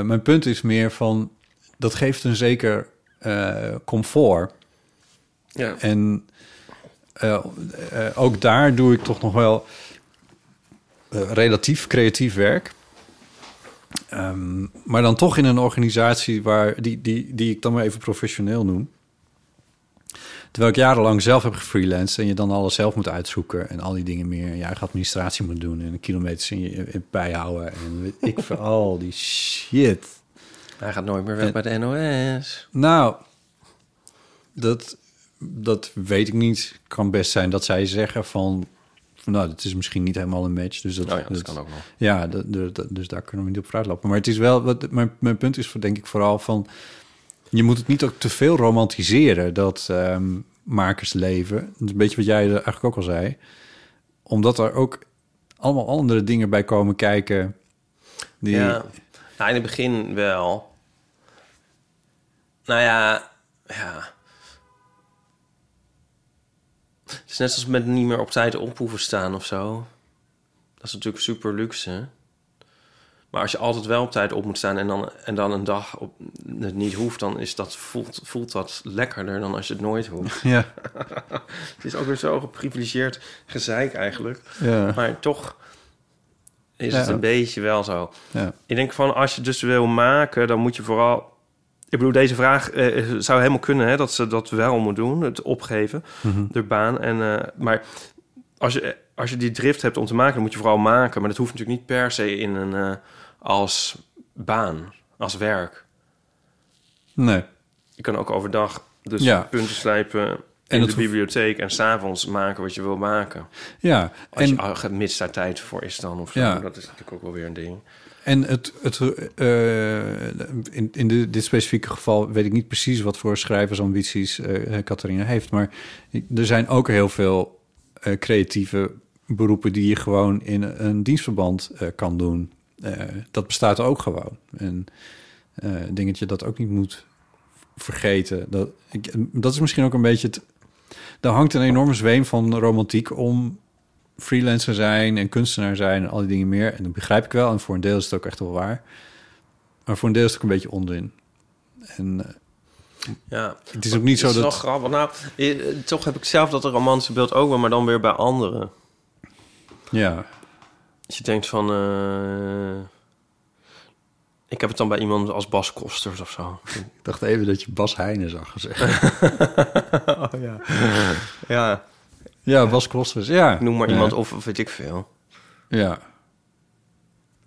mijn punt is meer van, dat geeft een zeker eh, comfort. ja. En eh, eh, ook daar doe ik toch nog wel eh, relatief creatief werk. Ehm, maar dan toch in een organisatie waar, die, die, die ik dan maar even professioneel noem. Terwijl ik jarenlang zelf heb gefreelanced en je dan alles zelf moet uitzoeken en al die dingen meer. En je eigen administratie moet doen en kilometers in je in bijhouden. En weet ik voor al die shit. Hij gaat nooit meer weg bij de NOS. Nou, dat, dat weet ik niet. Kan best zijn dat zij zeggen van... van, nou, dit is misschien niet helemaal een match. Dus dat, Nou ja, dat dat- kan ook nog. Ja, dat, dat- dat- dus daar kunnen we niet op vooruitlopen. Maar het is wel... Wat, mijn, mijn punt is voor, denk ik vooral van... Je moet het niet ook te veel romantiseren, dat ehm, makersleven. Dat is een beetje wat jij er eigenlijk ook al zei. Omdat er ook allemaal andere dingen bij komen kijken. Die, Ja. Nou, in het begin wel. Nou ja, ja. Het is net als met niet meer op tijd op hoeven staan of zo. Dat is natuurlijk super luxe. Maar als je altijd wel op tijd op moet staan en dan, en dan een dag op, het niet hoeft, dan is dat, voelt, voelt dat lekkerder dan als je het nooit hoeft. ja, het is ook weer zo geprivilegeerd gezeik eigenlijk. ja, Maar toch is Ja. het een beetje wel zo. ja. Ik denk van als je dus wil maken, dan moet je vooral. Ik bedoel, deze vraag eh, zou helemaal kunnen hè, dat ze dat wel moet doen, het opgeven, Mhm. de baan. En, eh, maar als je, eh, als je die drift hebt om te maken, dan moet je vooral maken. Maar dat hoeft natuurlijk niet per se in een, eh, als baan, als werk. Nee. Je kan ook overdag dus Ja. punten slijpen in En de dat hoeft- bibliotheek en s'avonds maken wat je wil maken. Ja, Als je, ah, mits daar tijd voor is dan of zo. Ja. Dat is natuurlijk ook wel weer een ding. En het, het, eh, in, in de- dit specifieke geval weet ik niet precies wat voor schrijversambities eh, eh, Catharina heeft. Maar ik- er zijn ook heel veel eh, creatieve beroepen die je gewoon in een dienstverband eh, kan doen. Eh, dat bestaat ook gewoon. En eh, ik denk dat je dat ook niet moet vergeten. Dat, ik, dat is misschien ook een beetje het. Daar hangt een enorme zweem van romantiek om freelancer zijn en kunstenaar zijn en al die dingen meer. En dat begrijp ik wel. En voor een deel is het ook echt wel waar. Maar voor een deel is het ook een beetje onzin. En eh, Ja. het is ook niet zo is wel dat... grappig. Nou, eh, eh, toch heb ik zelf dat romantische beeld ook wel, maar dan weer bij anderen. Ja, Als je denkt van... eh, ik heb het dan bij iemand als Bas Kosters of zo. ik dacht even dat je Bas Heijnen zag gezegd. Ja. ja, Bas Klosters, ja. Noem maar Ja. iemand of, of weet ik veel. Ja,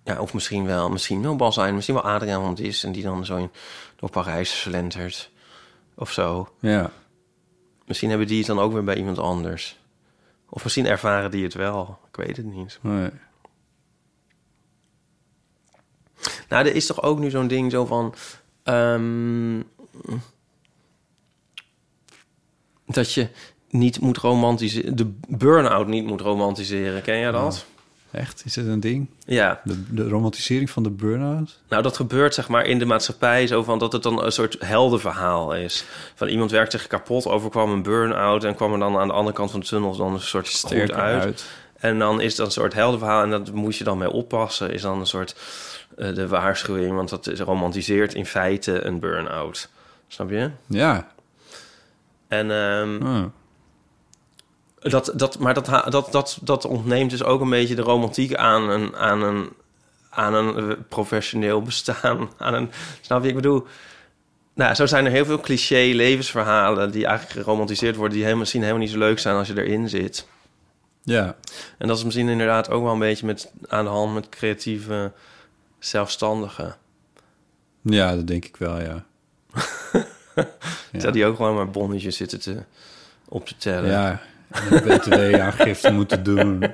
Ja, of misschien wel, misschien wel Bas zijn, misschien wel Adriaan, want die is en die dan zo in, door Parijs slentert of zo. ja. Misschien hebben die het dan ook weer bij iemand anders. Of misschien ervaren die het wel. Ik weet het niet. Nee. Nou, er is toch ook nu zo'n ding zo van... ehm, dat je niet moet romantiseren... De burn-out niet moet romantiseren. Ken jij dat? Echt, is dit een ding? Ja. De, de romantisering van de burn-out? Nou, dat gebeurt zeg maar in de maatschappij zo van dat het dan een soort heldenverhaal is. Van iemand werkt zich kapot, overkwam een burn-out... en kwam er dan aan de andere kant van de tunnel dan een soort Goed sterk uit. En dan is dat een soort heldenverhaal en dat moet je dan mee oppassen. Is dan een soort eh, de waarschuwing, want dat is romantiseert in feite een burn-out. Snap je? Ja. En ehm, ja. dat, dat, maar dat, ha- dat, dat, dat ontneemt dus ook een beetje de romantiek aan een, aan een, aan een eh, professioneel bestaan. Aan een, snap je? Ik bedoel, nou, zo zijn er heel veel cliché levensverhalen die eigenlijk geromantiseerd worden, die helemaal, misschien helemaal niet zo leuk zijn als je erin zit. Ja. En dat is misschien inderdaad ook wel een beetje met, aan de hand met creatieve zelfstandigen. ja, dat denk ik wel, ja. Terwijl die ook gewoon maar bonnetjes zitten te, op te tellen. Ja, en btw-aangifte moeten doen.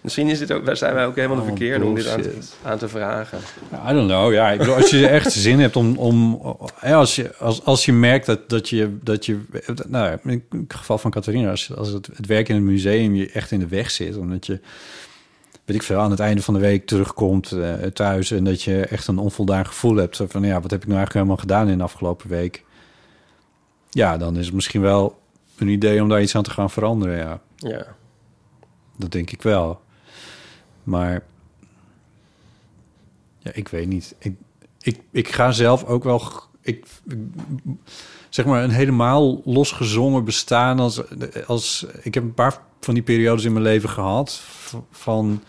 Misschien is dit ook, wij- zijn wij ook helemaal de Allemaal verkeerde om dit aan te, Oh, bullshit. aan te vragen. Ja, I don't know. Ja, ik bedoel, als je echt zin hebt om... om hè, als, je, als, als je merkt dat, dat je... Dat je nou, ja, in het geval van Catharina, als, als het, het werk in het museum je echt in de weg zit... omdat je weet ik veel, aan het einde van de week terugkomt eh, thuis... en dat je echt een onvoldaan gevoel hebt. Zo Van ja, wat heb ik nou eigenlijk helemaal gedaan in de afgelopen week? Ja, dan is het misschien wel een idee om daar iets aan te gaan veranderen, ja. Ja. Dat denk ik wel. Maar ja, ik weet niet. Ik, ik, ik ga zelf ook wel. g- Ik, ik- zeg maar een helemaal losgezongen bestaan. Als, als, ik heb een paar van die periodes in mijn leven gehad. v- Van,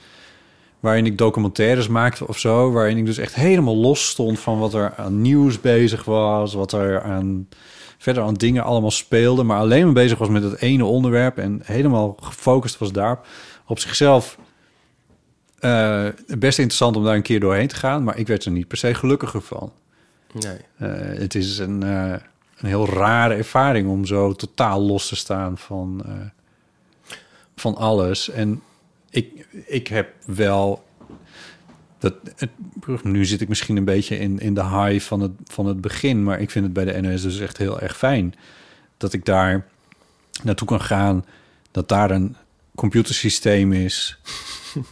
waarin ik documentaires maakte of zo. Waarin ik dus echt helemaal los stond van wat er aan nieuws bezig was. Wat er aan verder aan dingen allemaal speelde, maar alleen maar bezig was met dat ene onderwerp en helemaal gefocust was daarop. Op zichzelf eh, best interessant om daar een keer doorheen te gaan, maar ik werd er niet per se gelukkiger van. Nee. Eh, het is een, eh, een heel rare ervaring om zo totaal los te staan van, eh, van alles. En ik, ik heb wel. Dat, het- nu zit ik misschien een beetje in, in de high van het, van het begin, maar ik vind het bij de NOS dus echt heel erg fijn dat ik daar naartoe kan gaan, dat daar een computersysteem is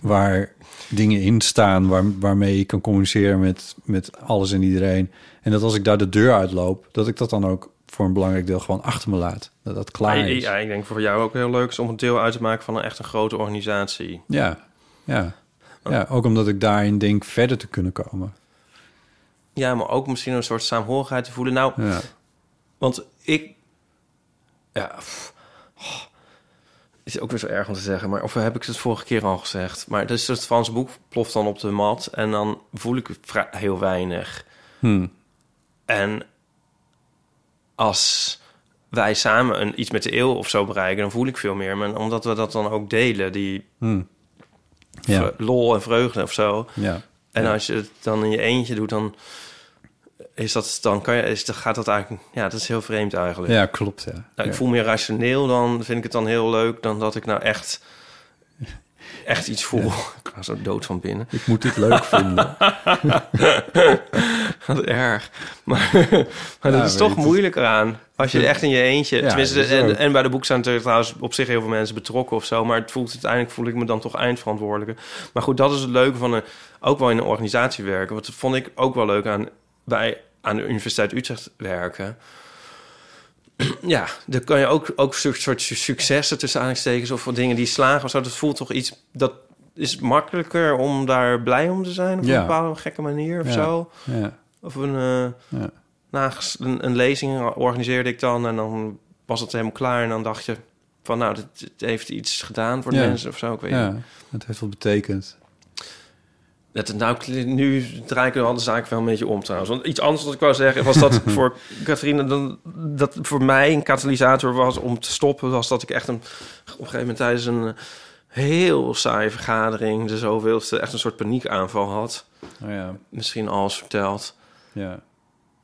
waar dingen in staan waar, waarmee ik kan communiceren met, met alles en iedereen. En dat als ik daar de deur uitloop, dat ik dat dan ook voor een belangrijk deel gewoon achter me laat. Dat dat klaar Ja, is. ja, ik denk voor jou ook heel leuk is om een deel uit te maken van een echt een grote organisatie. Ja, ja. Oh. ja ook omdat ik daarin denk verder te kunnen komen. Ja, maar ook misschien een soort saamhorigheid te voelen. Nou, Ja. want ik... Ja, pff, oh, is ook weer zo erg om te zeggen. Maar of heb ik het vorige keer al gezegd? Maar dus het Franse boek ploft dan op de mat en dan voel ik vrij- heel weinig. Hm. En als wij samen een, iets met de eeuw of zo bereiken, dan voel ik veel meer. Maar omdat we dat dan ook delen, die Hm. Ja, vre- lol en vreugde of zo. ja. En Ja. als je het dan in je eentje doet, dan is dat dan kan je is dan gaat dat eigenlijk ja, dat is heel vreemd eigenlijk. ja klopt. Ja. Nou, ik Ja. voel me rationeel dan vind ik het dan heel leuk dan dat ik nou echt echt iets voel. Ik was zo dood van binnen. Ik moet dit leuk vinden. Wat erg. Maar, maar dat Ja, is weet toch het. moeilijk aan. Als je Ja. echt in je eentje... Ja, tenminste, dat is ook. en, en bij de boek zijn er trouwens op zich heel veel mensen betrokken of zo. Maar het voelt, uiteindelijk voel ik me dan toch eindverantwoordelijke. Maar goed, dat is het leuke van een, ook wel in een organisatie werken. Wat vond ik ook wel leuk aan, bij, aan de Universiteit Utrecht werken. Ja, dan kan je ook, ook soort, soort su- successen tussen aanstekens of wat dingen die slagen of zo. Dat voelt toch iets... Dat is makkelijker om daar blij om te zijn op Ja. een bepaalde gekke manier of Ja. zo. Ja. Of een, eh, Ja. na een, een lezing organiseerde ik dan en dan was het helemaal klaar. En dan dacht je van nou, dit, dit heeft iets gedaan voor de Ja. mensen of zo. Ik weet niet. ja, dat heeft wat betekend. Dat, nou, kli- nu draai ik de zaak wel een beetje om trouwens. Want iets anders wat ik wou zeggen was dat voor Catharina... dan- dat voor mij een katalysator was om te stoppen... was dat ik echt een, op een gegeven moment tijdens een eh, heel saaie vergadering... de zoveelste echt een soort paniekaanval had. Oh, ja. Misschien al eens verteld. Ja.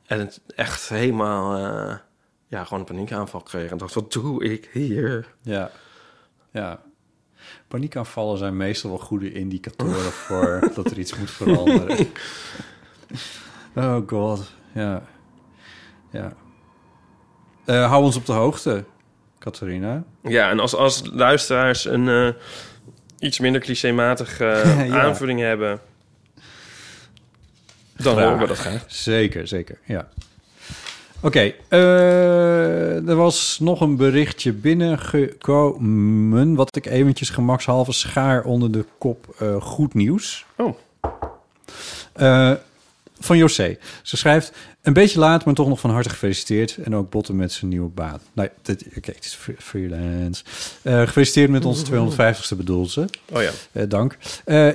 En het echt helemaal, eh, ja, gewoon een paniekaanval kreeg. En dacht, wat doe ik hier? Ja. ja. Paniekaanvallen zijn meestal wel goede indicatoren voor dat er iets moet veranderen. oh god, ja. ja. Eh, hou ons op de hoogte, Catharina. Ja, en als, als luisteraars een eh, iets minder clichématige eh, Ja. aanvulling hebben... dan Graag. horen we dat graag. Zeker, zeker, ja. Oké, eh, er was nog een berichtje binnengekomen... wat ik eventjes gemakshalve schaar onder de kop eh, goed nieuws. Oh. Eh, van José. Ze schrijft, een beetje laat, maar toch nog van harte gefeliciteerd. En ook Botten met zijn nieuwe baan. Nou, ja, dit- oké, het is fre- freelance. Eh, gefeliciteerd met onze 250ste bedoelt ze. Oh ja. Eh, dank. Eh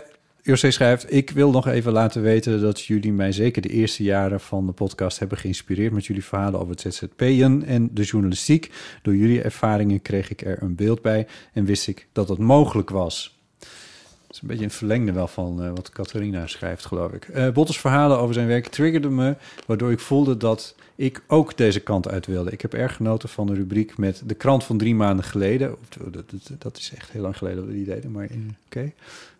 José schrijft, ik wil nog even laten weten dat jullie mij zeker de eerste jaren van de podcast hebben geïnspireerd met jullie verhalen over het ZZP'en en de journalistiek. Door jullie ervaringen kreeg ik er een beeld bij en wist ik dat het mogelijk was. Het is een beetje een verlengde wel van eh, wat Catharina schrijft, geloof ik. Eh Bottes verhalen over zijn werk triggerden me, waardoor ik voelde dat ik ook deze kant uit wilde. Ik heb erg genoten van de rubriek met de krant van drie maanden geleden. Of, Dat, dat, dat is echt heel lang geleden dat we die deden, maar eh, oké.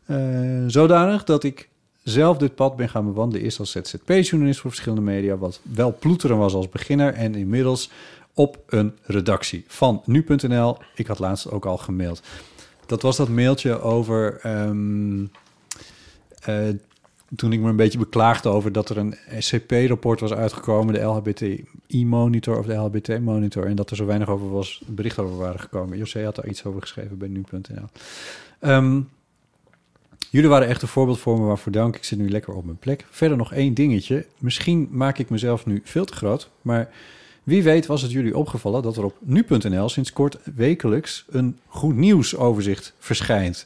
Eh, zodanig dat ik zelf dit pad ben gaan bewandelen. Eerst als ZZP-journalist voor verschillende media, wat wel ploeteren was als beginner. En inmiddels op een redactie van nu.nl. Ik had laatst ook al gemaild. Dat was dat mailtje over... ehm, eh, toen ik me een beetje beklaagde over dat er een SCP-rapport was uitgekomen... de LHBTI-monitor of de LHBT-monitor... en dat er zo weinig over was, bericht over waren gekomen. José had daar iets over geschreven bij nu.nl. Ehm, jullie waren echt een voorbeeld voor me, waarvoor dank. Ik zit nu lekker op mijn plek. Verder nog één dingetje. Misschien maak ik mezelf nu veel te groot, maar... Wie weet was het jullie opgevallen dat er op nu.nl sinds kort wekelijks een goed nieuwsoverzicht verschijnt.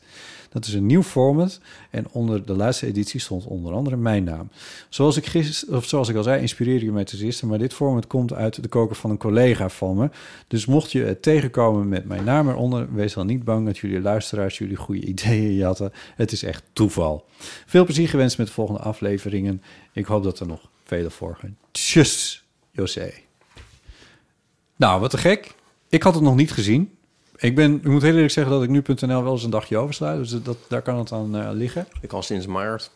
Dat is een nieuw format en onder de laatste editie stond onder andere mijn naam. Zoals ik, gisteren, of zoals ik al zei, inspireer je mij te gisteren, maar dit format komt uit de koker van een collega van me. Dus mocht je het tegenkomen met mijn naam eronder, wees dan niet bang dat jullie luisteraars jullie goede ideeën jatten. Het is echt toeval. Veel plezier gewenst met de volgende afleveringen. Ik hoop dat er nog vele volgen. Tjus, José. Nou, wat te gek. Ik had het nog niet gezien. Ik, ben, ik moet heel eerlijk zeggen dat ik nu.nl wel eens een dagje oversluit. Dus dat, daar kan het aan eh, liggen. Ik al sinds maart.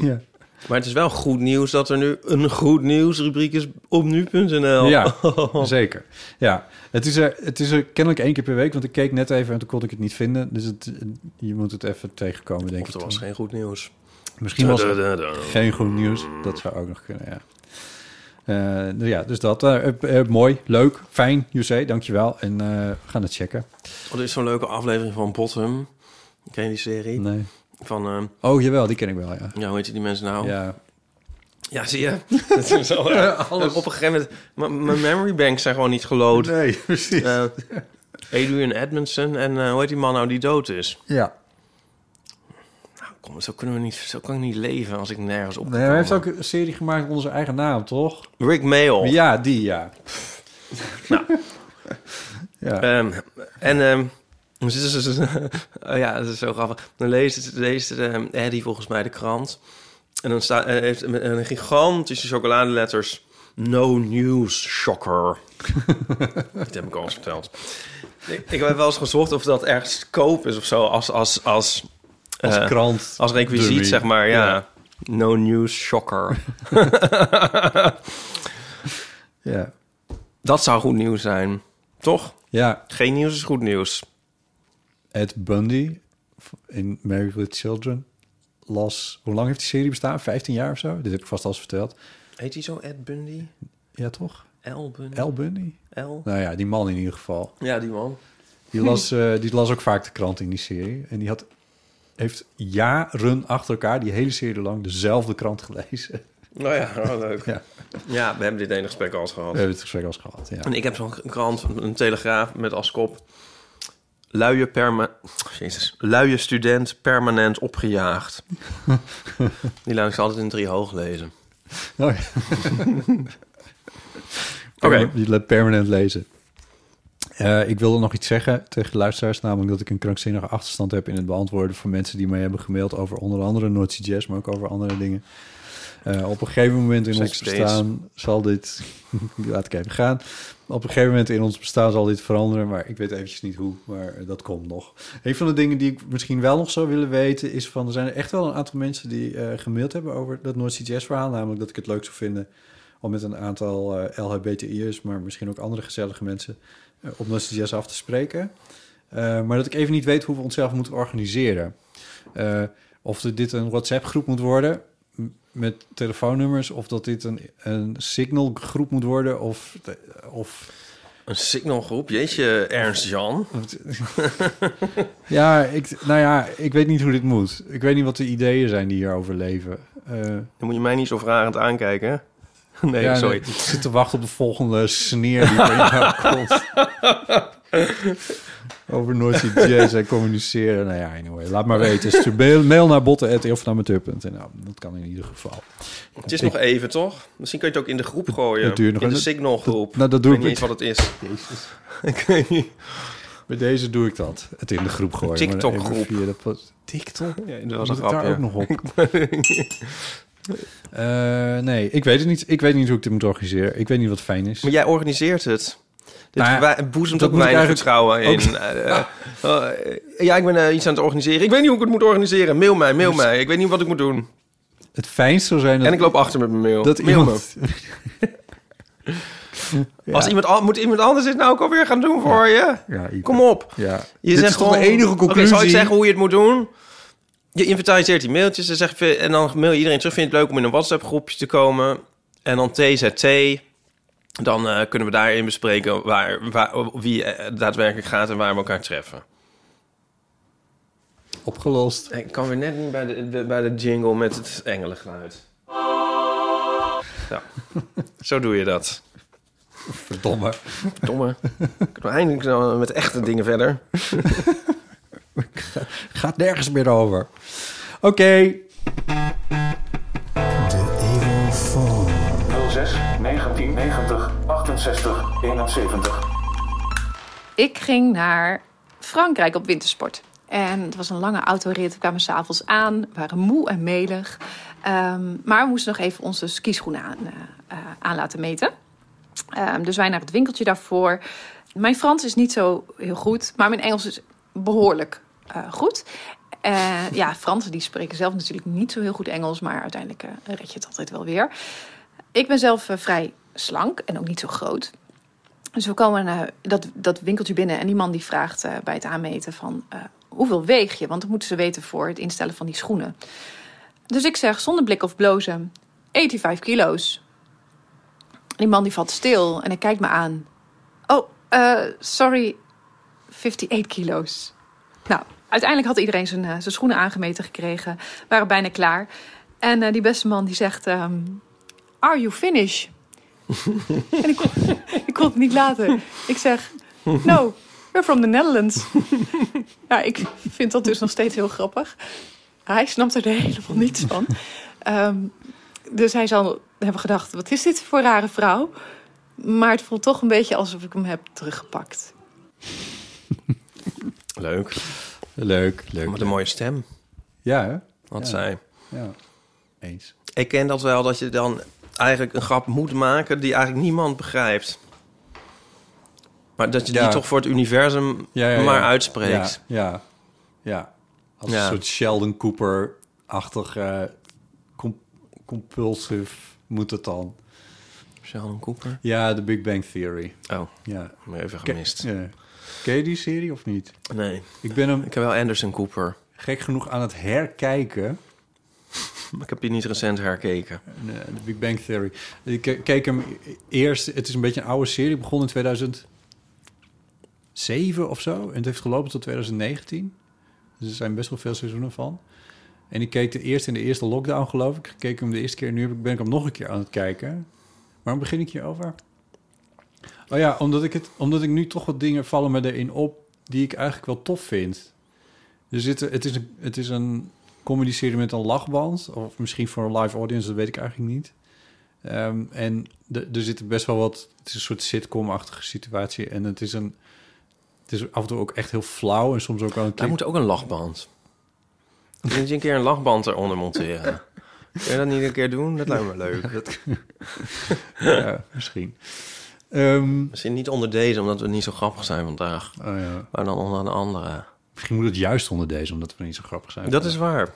Ja. Maar het is wel goed nieuws dat er nu een goed nieuws rubriek is op nu.nl. Ja, zeker. Ja, het is, er, het is er kennelijk één keer per week. Want ik keek net even en toen kon ik het niet vinden. Dus het, je moet het even tegenkomen, denk Of ik. er was geen goed nieuws. Misschien was het Da, da, da. geen goed nieuws. Dat zou ook nog kunnen, ja. Eh, nou ja, dus dat. eh, eh, eh, mooi, leuk, fijn, José, dankjewel. En eh, we gaan het checken. Oh, er is zo'n leuke aflevering van Bottom. Ken je die serie? Nee. Van, eh, Oh, jawel, die ken ik wel, ja. ja, hoe heet je die mensen nou? Ja, Ja, zie je? Dat is zo, eh, alles. Op een gegeven moment... m- Mijn memory banks zijn gewoon niet gelood. Nee, precies. Eh, Adrian Edmondson en eh, hoe heet die man nou die dood is? ja. Nou, kom, zo, kunnen we niet, zo kan ik niet leven als ik nergens op Nee, hij heeft ook een serie gemaakt onder zijn eigen naam, toch? Rick Mail. Ja, die, ja. Nou. ja. Ehm, en ehm, dus- dus- dus- dus- oh ja, dat is zo grappig. Dan leest, leest ehm, Eddie volgens mij de krant. En dan staat eh, heeft met een gigantische chocoladeletters. No news shocker. dat heb ik al eens verteld. Ik, ik heb wel eens gezocht of dat ergens te koop is of zo. Als, als, als, als eh, krant. als requisiet, dummy. zeg maar. Ja. No news shocker. Ja. dat zou goed nieuws zijn. Toch? ja, Geen nieuws is goed nieuws. Ed Bundy in Married with Children las... Hoe lang heeft die serie bestaan? 15 jaar of zo? Dit heb ik vast al eens verteld. Heet hij zo Ed Bundy? Ja, toch? L Bundy? L. Bundy? L? Nou ja, die man in ieder geval. Ja, die man. Die las, eh, die las ook vaak de krant in die serie. En die had, heeft jaren achter elkaar, die hele serie lang, dezelfde krant gelezen. Nou ja, wel leuk. Ja. Ja. we hebben dit ene gesprek al eens gehad. We hebben het gesprek al eens gehad, ja. En ik heb zo'n krant, een telegraaf met als kop... Luie, perma Jezus. luie student permanent opgejaagd. die laat ik ze altijd in drie hoog lezen. Oh, ja. Perma- Je laat permanent lezen. Eh, ik wilde nog iets zeggen tegen de luisteraars, namelijk dat ik een krankzinnige achterstand heb in het beantwoorden van mensen die mij hebben gemaild over onder andere Noordse Jazz, maar ook over andere dingen. Eh, op een gegeven moment in Sex ons dates. bestaan zal dit. laat ik even gaan. Op een gegeven moment in ons bestaan zal dit veranderen, maar ik weet eventjes niet hoe, maar eh, dat komt nog. Een van de dingen die ik misschien wel nog zou willen weten is van, er zijn echt wel een aantal mensen die eh, gemaild hebben over dat Noordse Jazz verhaal, namelijk dat ik het leuk zou vinden om met een aantal eh, LHBTI'ers, maar misschien ook andere gezellige mensen, eh, op Noordse Jazz af te spreken. Eh, maar dat ik even niet weet hoe we onszelf moeten organiseren. Eh, of dat dit een WhatsApp-groep moet worden m- met telefoonnummers, of dat dit een, een Signal-groep moet worden, of... of Een signalgroep. Jeetje, Ernst Jan. ja, ik, nou ja, ik weet niet hoe dit moet. Ik weet niet wat de ideeën zijn die hierover leven. Eh, Dan moet je mij niet zo vragend aankijken. hè? Nee, ja, sorry. Ik zit te wachten op de volgende sneer die van jou komt. Over Noordse Jazz en communiceren. Nou ja, anyway. Laat maar weten. Stuur mail- mail naar botten.nl of naar amateur.nl. Dat kan in ieder geval. Het is nog even, toch? Misschien kun je het ook in de groep gooien. Het duurt nog in de een- signalgroep. dat- nou, dat doe ik ik weet niet eens wat het is. Ik weet niet. Bij deze doe ik dat. Het in de groep gooien. maar even TikTok-groep. via de post- TikTok? Ja, dat Dan was moet een ik grap, daar ja. ook nog op. Eh, nee, ik weet het niet. Ik weet niet hoe ik dit moet organiseren. Ik weet niet wat fijn is. Maar jij organiseert het. Dit Nou ja, wij- boezemt dat ook moet ik weinig eigenlijk vertrouwen in. Eh, eh, eh, ja, ik ben eh, iets aan het organiseren. Ik weet niet hoe ik het moet organiseren. Mail mij, mail mij. Ik weet niet wat ik moet doen. Het fijnst zou zijn dat... En ik loop achter met mijn mail. dat mail iemand... Als iemand, al- moet iemand anders dit nou ook alweer gaan doen voor je? Ja, Ipe. Kom op. Ja. Je Dit zegt is toch gewoon- de enige Oké, conclusie. zal ik zeggen hoe je het moet doen? Je inventariseert die mailtjes en, zegt, en dan mail je iedereen terug. Vind je het leuk om in een WhatsApp-groepje te komen? En dan TZT. Dan eh, kunnen we daarin bespreken waar, waar, wie eh, daadwerkelijk gaat en waar we elkaar treffen. Opgelost. Ik kan weer net niet bij de, de- bij de jingle met het engelengeluid. Ja, zo doe je dat. Verdomme. Domme. Kunnen we eindelijk dan met echte dingen verder? Gaat nergens meer over. Oké. Ik ging naar Frankrijk op wintersport. En het was een lange autorit. We kwamen s'avonds aan, we waren moe en melig. Ehm, maar we moesten nog even onze skischoenen aan, eh, eh, aan laten meten. Ehm, dus wij naar het winkeltje daarvoor. Mijn Frans is niet zo heel goed, maar mijn Engels is behoorlijk eh, goed. Eh, ja, Fransen die spreken zelf natuurlijk niet zo heel goed Engels, maar uiteindelijk eh, red je het altijd wel weer. Ik ben zelf eh, vrij slank en ook niet zo groot. Dus we komen eh, dat, dat winkeltje binnen en die man die vraagt eh, bij het aanmeten van eh, hoeveel weeg je? Want dat moeten ze weten voor het instellen van die schoenen. Dus ik zeg zonder blik of blozen 85 kilo's. Die man die valt stil en hij kijkt me aan. Oh, eh, sorry, 58 kilo's. Nou, uiteindelijk had iedereen zijn, eh, zijn schoenen aangemeten gekregen. waren bijna klaar. En eh, die beste man die zegt... ehm, Are you finished? en ik kon, ik kon het niet laten. Ik zeg... No, we're from the Netherlands. ja, ik vind dat dus nog steeds heel grappig. Hij snapt er helemaal niets van. Ehm, dus hij zal hebben gedacht... Wat is dit voor rare vrouw? Maar het voelt toch een beetje alsof ik hem heb teruggepakt. Leuk. Leuk, leuk. Met een mooie stem, Ja, hè? had Ja. zij. Ja. Eens. Ik ken dat wel, dat je dan eigenlijk een grap moet maken die eigenlijk niemand begrijpt. Maar dat je Ja. die toch voor het universum Ja, ja, ja. maar uitspreekt. Ja, ja. ja. Als Ja. een soort Sheldon Cooper-achtig eh, com- compulsive moet het dan. Sheldon Cooper. Ja, de Big Bang Theory. Oh, Ja. heb ik even Ke- gemist. ja. Ken je die serie of niet? Nee, Ik ben hem ik heb wel Anderson Cooper. gek genoeg aan het herkijken. Maar ik heb die niet recent herkeken. Eh, De Big Bang Theory. Ik ke- keek hem eerst... Het is een beetje een oude serie. Begon in 2007 of zo. En het heeft gelopen tot 2019. Dus er zijn best wel veel seizoenen van. En ik keek de eerste in de eerste lockdown, geloof ik. Ik keek hem de eerste keer. Nu heb ik- ben ik hem nog een keer aan het kijken. Waarom begin ik hierover? Oh ja, omdat ik, het, omdat ik nu toch wat dingen vallen me erin op... die ik eigenlijk wel tof vind. Er zitten, het, is een, het is een comedy serie met een lachband. Of misschien voor een live audience, dat weet ik eigenlijk niet. Ehm, en de- er zitten best wel wat... Het is een soort sitcom-achtige situatie. En het is, een, het is af en toe ook echt heel flauw. En soms ook wel een Daar keer... moet ook een lachband. Moet je een keer een lachband eronder monteren? Kun je dat niet een keer doen? Dat lijkt me leuk. Ja, misschien. Ehm, Misschien niet onder deze, omdat we niet zo grappig zijn vandaag. oh ja. Maar dan onder een andere. Misschien moet het juist onder deze, omdat we niet zo grappig zijn. Dat is waar.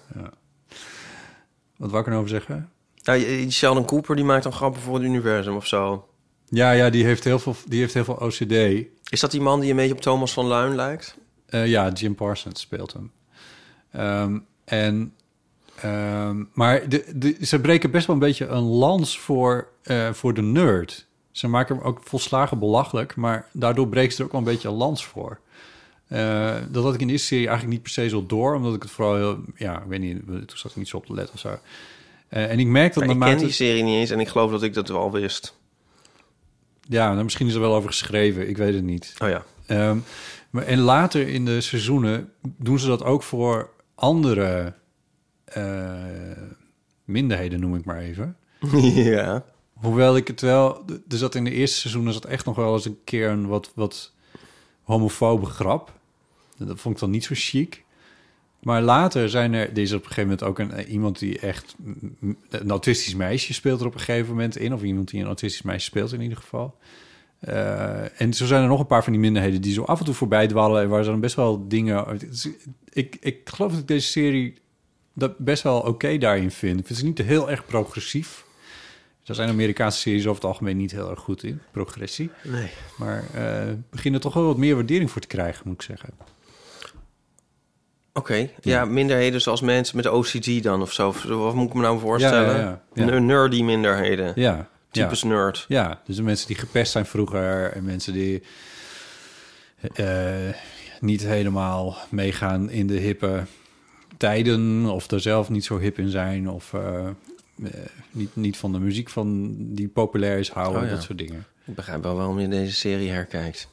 Wat wou ik erover zeggen? Ja, Nou, je- je- Sheldon Cooper die maakt dan grappen voor het universum of zo. Ja, ja die, heeft heel veel, die heeft heel veel OCD. Is dat die man die een beetje op Thomas van Luin lijkt? Eh, ja, Jim Parsons speelt hem. Ehm, en, ehm, maar de, de, ze breken best wel een beetje een lans voor, eh, voor de nerd. Ze maken hem ook volslagen belachelijk, maar daardoor breken ze er ook wel een beetje een lans voor. Eh, dat had ik in de eerste serie eigenlijk niet per se zo door, omdat ik het vooral heel, ja, ik weet niet, toen zat ik niet zo op te letten of zo. Eh, en ik merk dat Maar Nou, ik naarmate... ken die serie niet eens en ik geloof dat ik dat wel wist. Ja, nou, misschien is er wel over geschreven. Ik weet het niet. Oh ja. Ehm, maar, en later in de seizoenen doen ze dat ook voor andere eh, minderheden, noem ik maar even. ja. Hoewel ik het wel... Er zat in de eerste seizoenen zat echt nog wel eens een keer een wat, wat homofobe grap. Dat vond ik dan niet zo chic. Maar later zijn er... Er is op een gegeven moment ook een, eh, iemand die echt... mm, mm, Een autistisch meisje speelt er op een gegeven moment in. Of iemand die een autistisch meisje speelt in ieder geval. Eh, en zo zijn er nog een paar van die minderheden... die zo af en toe voorbij dwalen... en waar ze dan best wel dingen... het is- Ik, ik geloof dat ik deze serie dat best wel oké daarin vind. Ik vind ze niet heel erg progressief. Daar zijn Amerikaanse series over het algemeen niet heel erg goed in, progressie. Nee. Maar eh beginnen toch wel wat meer waardering voor te krijgen, moet ik zeggen. Oké, ja, minderheden zoals mensen met OCD dan of zo. Of Wat moet ik me nou voorstellen? Ja, ja, ja. Ja. N- Nerdy minderheden. Ja, ja. Typisch nerd. Ja, dus de mensen die gepest zijn vroeger en mensen die eh, niet helemaal meegaan in de hippe tijden of er zelf niet zo hip in zijn of eh, eh, niet, niet van de muziek van die populair is houden, Oh, ja. dat soort dingen. Ik begrijp wel waarom je deze serie herkijkt.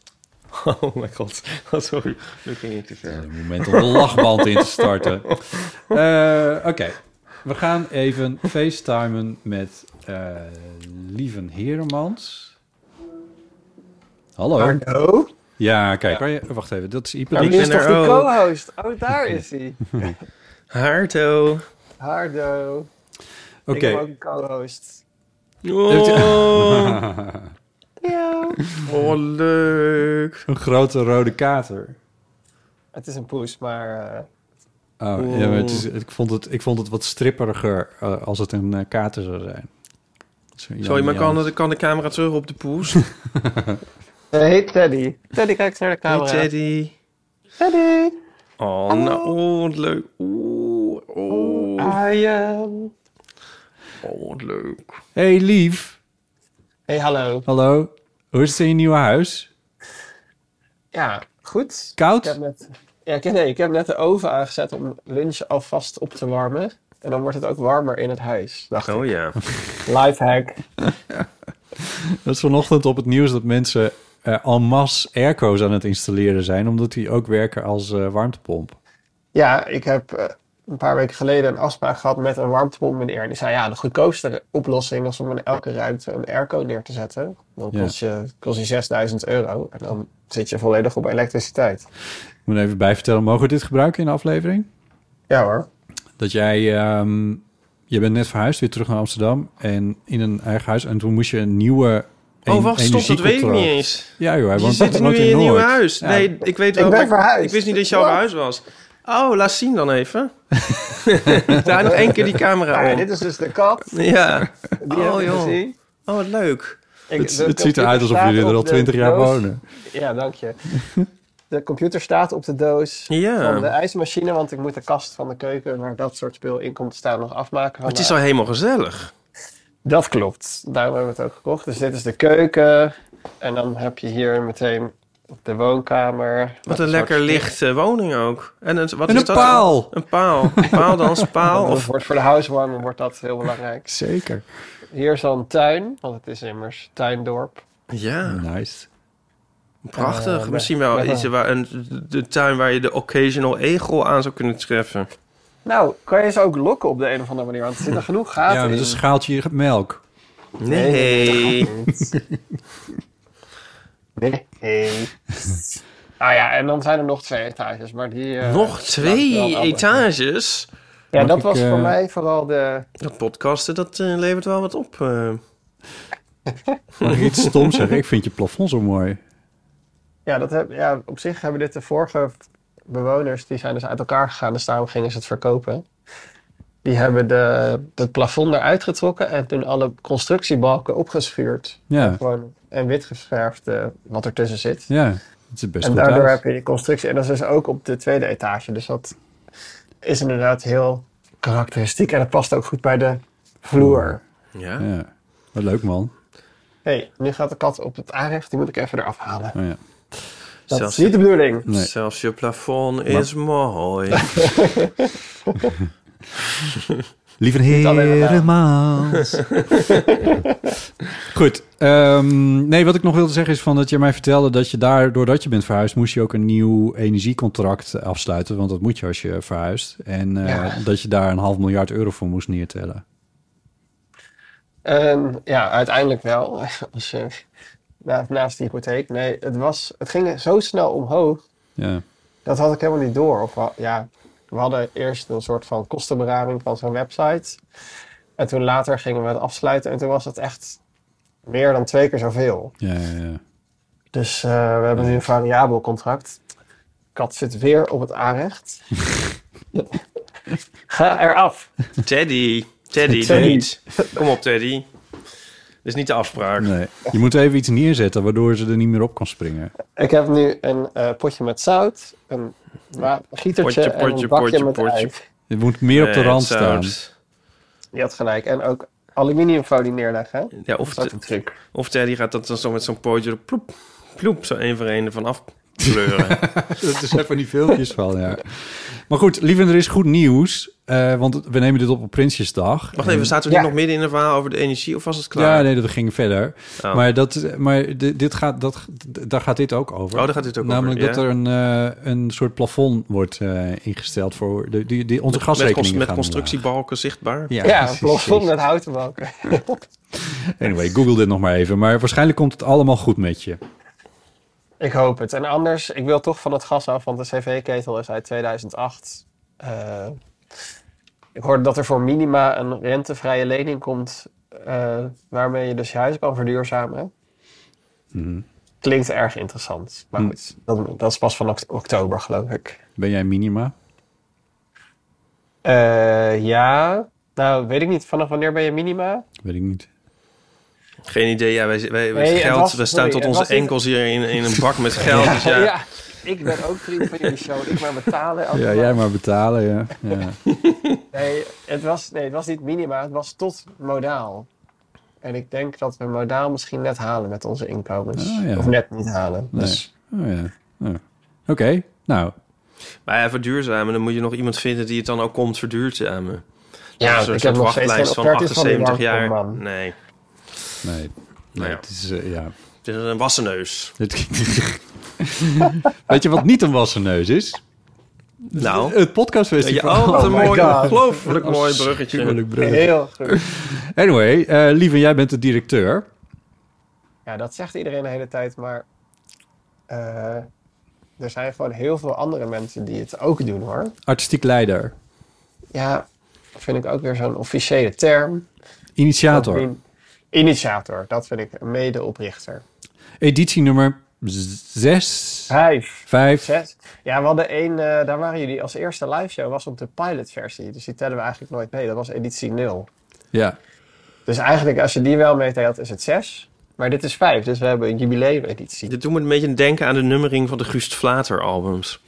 Oh mijn god. Oh, sorry, nu ging ik te ver. Een moment om de lachband in te starten. Eh, Oké, we gaan even facetimen met eh Lieven Heremans. Hallo. Hallo? Ja, kijk, kan je, oh, wacht even, dat is Ipe. Dit ben Oh, Nou, is toch er de ook. co-host? Oh, daar is hij. Harto. Hardo. Oké. Ik heb ook een co-host. Oh, Ja. oh, leuk. Een grote rode kater. Het is een poes, maar eh, Oh, Wow. ja, maar het is, ik, vond het, ik vond het wat stripperiger eh, als het een eh, kater zou zijn. Zo, Jan- Sorry, maar Jan- kan de, kan de camera terug op de poes? hij heet Teddy. Teddy, kijk eens naar de Hey, camera. Teddy. Teddy. Oh, nou, oh, wat leuk. Oeh, oh, Hi, ehm. oh, wat leuk. Hey lief, Hey, hallo. hallo. Hoe is het in je nieuwe huis? Ja, goed. Koud? Ik heb net, ja, ik, nee, ik heb net de oven aangezet om lunch alvast op te warmen. En dan wordt het ook warmer in het huis. Dacht ik. Oh ja. Lifehack. Dat is vanochtend op het nieuws dat mensen eh en masse airco's aan het installeren zijn... omdat die ook werken als eh, warmtepomp. Ja, ik heb eh, een paar weken geleden een afspraak gehad met een warmtepomp meneer. En die zei, ja, de goedkoopste oplossing was om in elke ruimte een airco neer te zetten. Dan Ja. kost, je, kost je 6000 euro en dan zit je volledig op elektriciteit. Ik moet er even bijvertellen, mogen we dit gebruiken in de aflevering? Ja hoor. dat jij... ehm je bent net verhuisd, weer terug naar Amsterdam. En in een eigen huis. En toen moest je een nieuwe Oh, en- wacht, stop, dat weet ik energiecontract. niet eens. Ja joh, hij Je woont, zit nu woont in je nieuw Noord. huis. Ja. Nee, ik weet wel. ben maar ik- verhuisd. Ik wist niet dat jouw Wat? huis was. Oh, laat zien dan even. Daar nog één keer die camera Ja, om. dit is dus de kat. Ja. Die Oh, heb ik joh. gezien. Oh, wat leuk. Ik- Het, de het ziet eruit computer alsof staat jullie er op al de 20 jaar doos. wonen. Ja, dank je. De computer staat op de doos Ja. van de ijsmachine, want ik moet de kast van de keuken waar dat soort spul in komt te staan nog afmaken. Maar het is al helemaal gezellig. Dat klopt. Daarom hebben we het ook gekocht. Dus dit is de keuken. En dan heb je hier meteen de woonkamer. Met Wat een soort lekker lichte woning ook. En het, wat En is een dat? paal. Een paal. Een paal dan, paal. Dat Of, wordt voor de housewarming wordt dat heel belangrijk. Zeker. Hier is al een tuin, want het is immers tuindorp. ja, Nice. prachtig. Eh, Misschien wel ja. iets waar, een, de tuin waar je de occasional egel aan zou kunnen treffen. Nou, kan je ze ook lokken op de een of andere manier, want er zitten genoeg gaten Ja, met in. een schaaltje melk. Nee. Nee. nee. Ah ja, en dan zijn er nog twee etages, maar die... eh, Nog wel twee allemaal. etages. Ja, Mag dat ik, was eh, voor mij vooral de... Dat podcasten, dat eh, levert wel wat op. eh. Mag ik iets stoms zeggen? Ik vind je plafond zo mooi. Ja, dat heb, ja, op zich hebben dit de vorige bewoners, die zijn dus uit elkaar gegaan, dus daarom gingen ze het verkopen. Die hebben de, het plafond eruit getrokken en toen alle constructiebalken opgeschuurd. Ja, Gewoon en wit geverfd eh, wat ertussen zit. ja. Het is best en goed daardoor uit. heb je die constructie. En dat is dus ook op de tweede etage. Dus dat is inderdaad heel karakteristiek. En dat past ook goed bij de vloer. Ja. Ja. Wat leuk, man. Hé, hey, nu gaat de kat op het aanrecht. Die moet ik even eraf halen. Oh, ja. Dat Zelfs- is niet de bedoeling. Nee. Zelfs je plafond is mooi. Lieve alleen maar Heremans. Goed. ehm, nee, wat ik nog wilde zeggen is van dat je mij vertelde dat je daar, doordat je bent verhuisd, moest je ook een nieuw energiecontract afsluiten. Want dat moet je als je verhuist. En eh, Ja. dat je daar een half miljard euro voor moest neertellen. Ehm, ja, uiteindelijk wel. Als je, na- naast de hypotheek. Nee, het, was, het ging zo snel omhoog. Ja. Dat had ik helemaal niet door. Of, wa- ja, we hadden eerst een soort van kostenberaming van zo'n website. En toen later gingen we het afsluiten. En toen was het echt meer dan twee keer zoveel. Ja, ja, ja. Dus eh, we hebben nu een variabel contract. Kat zit weer op het aanrecht. Ga eraf. Teddy. Teddy, doe Teddy. niet. Kom op, Teddy. is niet de afspraak. Nee. Je moet even iets neerzetten waardoor ze er niet meer op kan springen. Ik heb nu een eh, potje met zout, een wa- gietertje Potje, en potje, een bakje potje, met potje. ei. Je moet meer op de Nee, rand zout. staan. Je had gelijk. En ook aluminiumfolie neerleggen. hè? Ja, of, Dat is ook de- of Teddy gaat dat dan zo met zo'n pootje er ploep, ploep, zo één voor één ervan afkleuren. dat is even die filmpjes van, ja. Maar goed, liever, er is goed nieuws. eh, want we nemen dit op op Prinsjesdag. Wacht even, zaten we niet nog midden in een verhaal over de energie of was het klaar? Ja, nee, dat ging verder. Oh. Maar, dat, maar di- dit gaat, dat, daar gaat dit ook over. Oh, daar gaat dit ook over, Namelijk ja. dat er een, eh, een soort plafond wordt eh, ingesteld voor de, die, die, onze Met- met, cons- gasrekeningen met gaan eh, constructiebalken zichtbaar. Ja, Ja, precies, een plafond precies. met houten balken. omlaag. Anyway, google dit nog maar even. Maar waarschijnlijk komt het allemaal goed met je. ik hoop het. En anders, ik wil toch van het gas af, want de cv-ketel is uit 2008. Eh, ik hoorde dat er voor minima een rentevrije lening komt... eh, waarmee je dus je huis kan verduurzamen. Mhm. Klinkt erg interessant. Maar Hm. goed, dat, dat is pas van oct- oktober, geloof ik. Ben jij minima? Eh, ja, nou weet ik niet. Vanaf wanneer ben je minima? Weet ik niet. Geen idee, ja, wij, wij, wij Nee, het geld, was- we staan sorry, tot het onze was niet- enkels hier in, in een bak met geld. dus ja. Ja, ik ben ook vriend van jullie show. Ik maar betalen. Ja, allemaal. jij maar betalen, ja. ja. Nee, het was, nee, het was niet minima. Het was tot modaal. En ik denk dat we modaal misschien net halen met onze inkomens. Ah, ja. Of net niet halen. Nee. Dus Oh, ja. Oh. Oké, nou. Maar ja, verduurzamen, dan moet je nog iemand vinden die het dan ook komt verduurzamen. Ja, Een ik soort- heb soort nog steeds wachtlijst geen van offertes van die 78 jaar. warmtepomp, man. Nee, Nee. Nou ja. Het is, eh, ja. het is een wassenneus. Het- Weet je wat niet een wassen neus is? Nou, Het podcastfestival. Ja, oh, wat een my mooi, God. ongelooflijk mooi bruggetje. Afschuwelijk bruggetje. heel goed. Anyway, eh, lieve, jij bent de directeur. Ja, dat zegt iedereen de hele tijd. Maar eh, er zijn gewoon heel veel andere mensen die het ook doen hoor. Artistiek leider. Ja, vind ik ook weer zo'n officiële term. Initiator. Initiator, dat vind ik een medeoprichter. Editie nummer 6, Vijf. 5. Zes. Ja, we hadden één, eh, daar waren jullie als eerste live show, was op de pilotversie. Dus die tellen we eigenlijk nooit mee. Dat was editie 0. Ja. Dus eigenlijk, als je die wel meetelt, is het 6. Maar dit is 5, dus we hebben een jubileumeditie. Dit doet me een beetje denken aan de nummering van de Guust Vlater albums.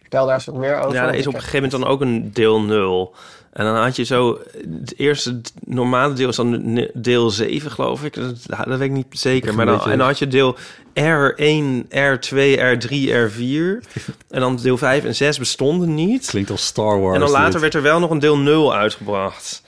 Vertel daar eens wat meer over. Ja, daar is op een gegeven moment dan ook een deel 0. En dan had je zo... Het eerste d- normale deel is dan n- deel 7, geloof ik. Dat, dat weet ik niet zeker. een Maar dan, beetje- en dan had je deel R1, R2, R3, R4. En dan deel 5 en 6 bestonden niet. Klinkt als Star Wars. Dus En dan later dit. werd er wel nog een deel 0 uitgebracht.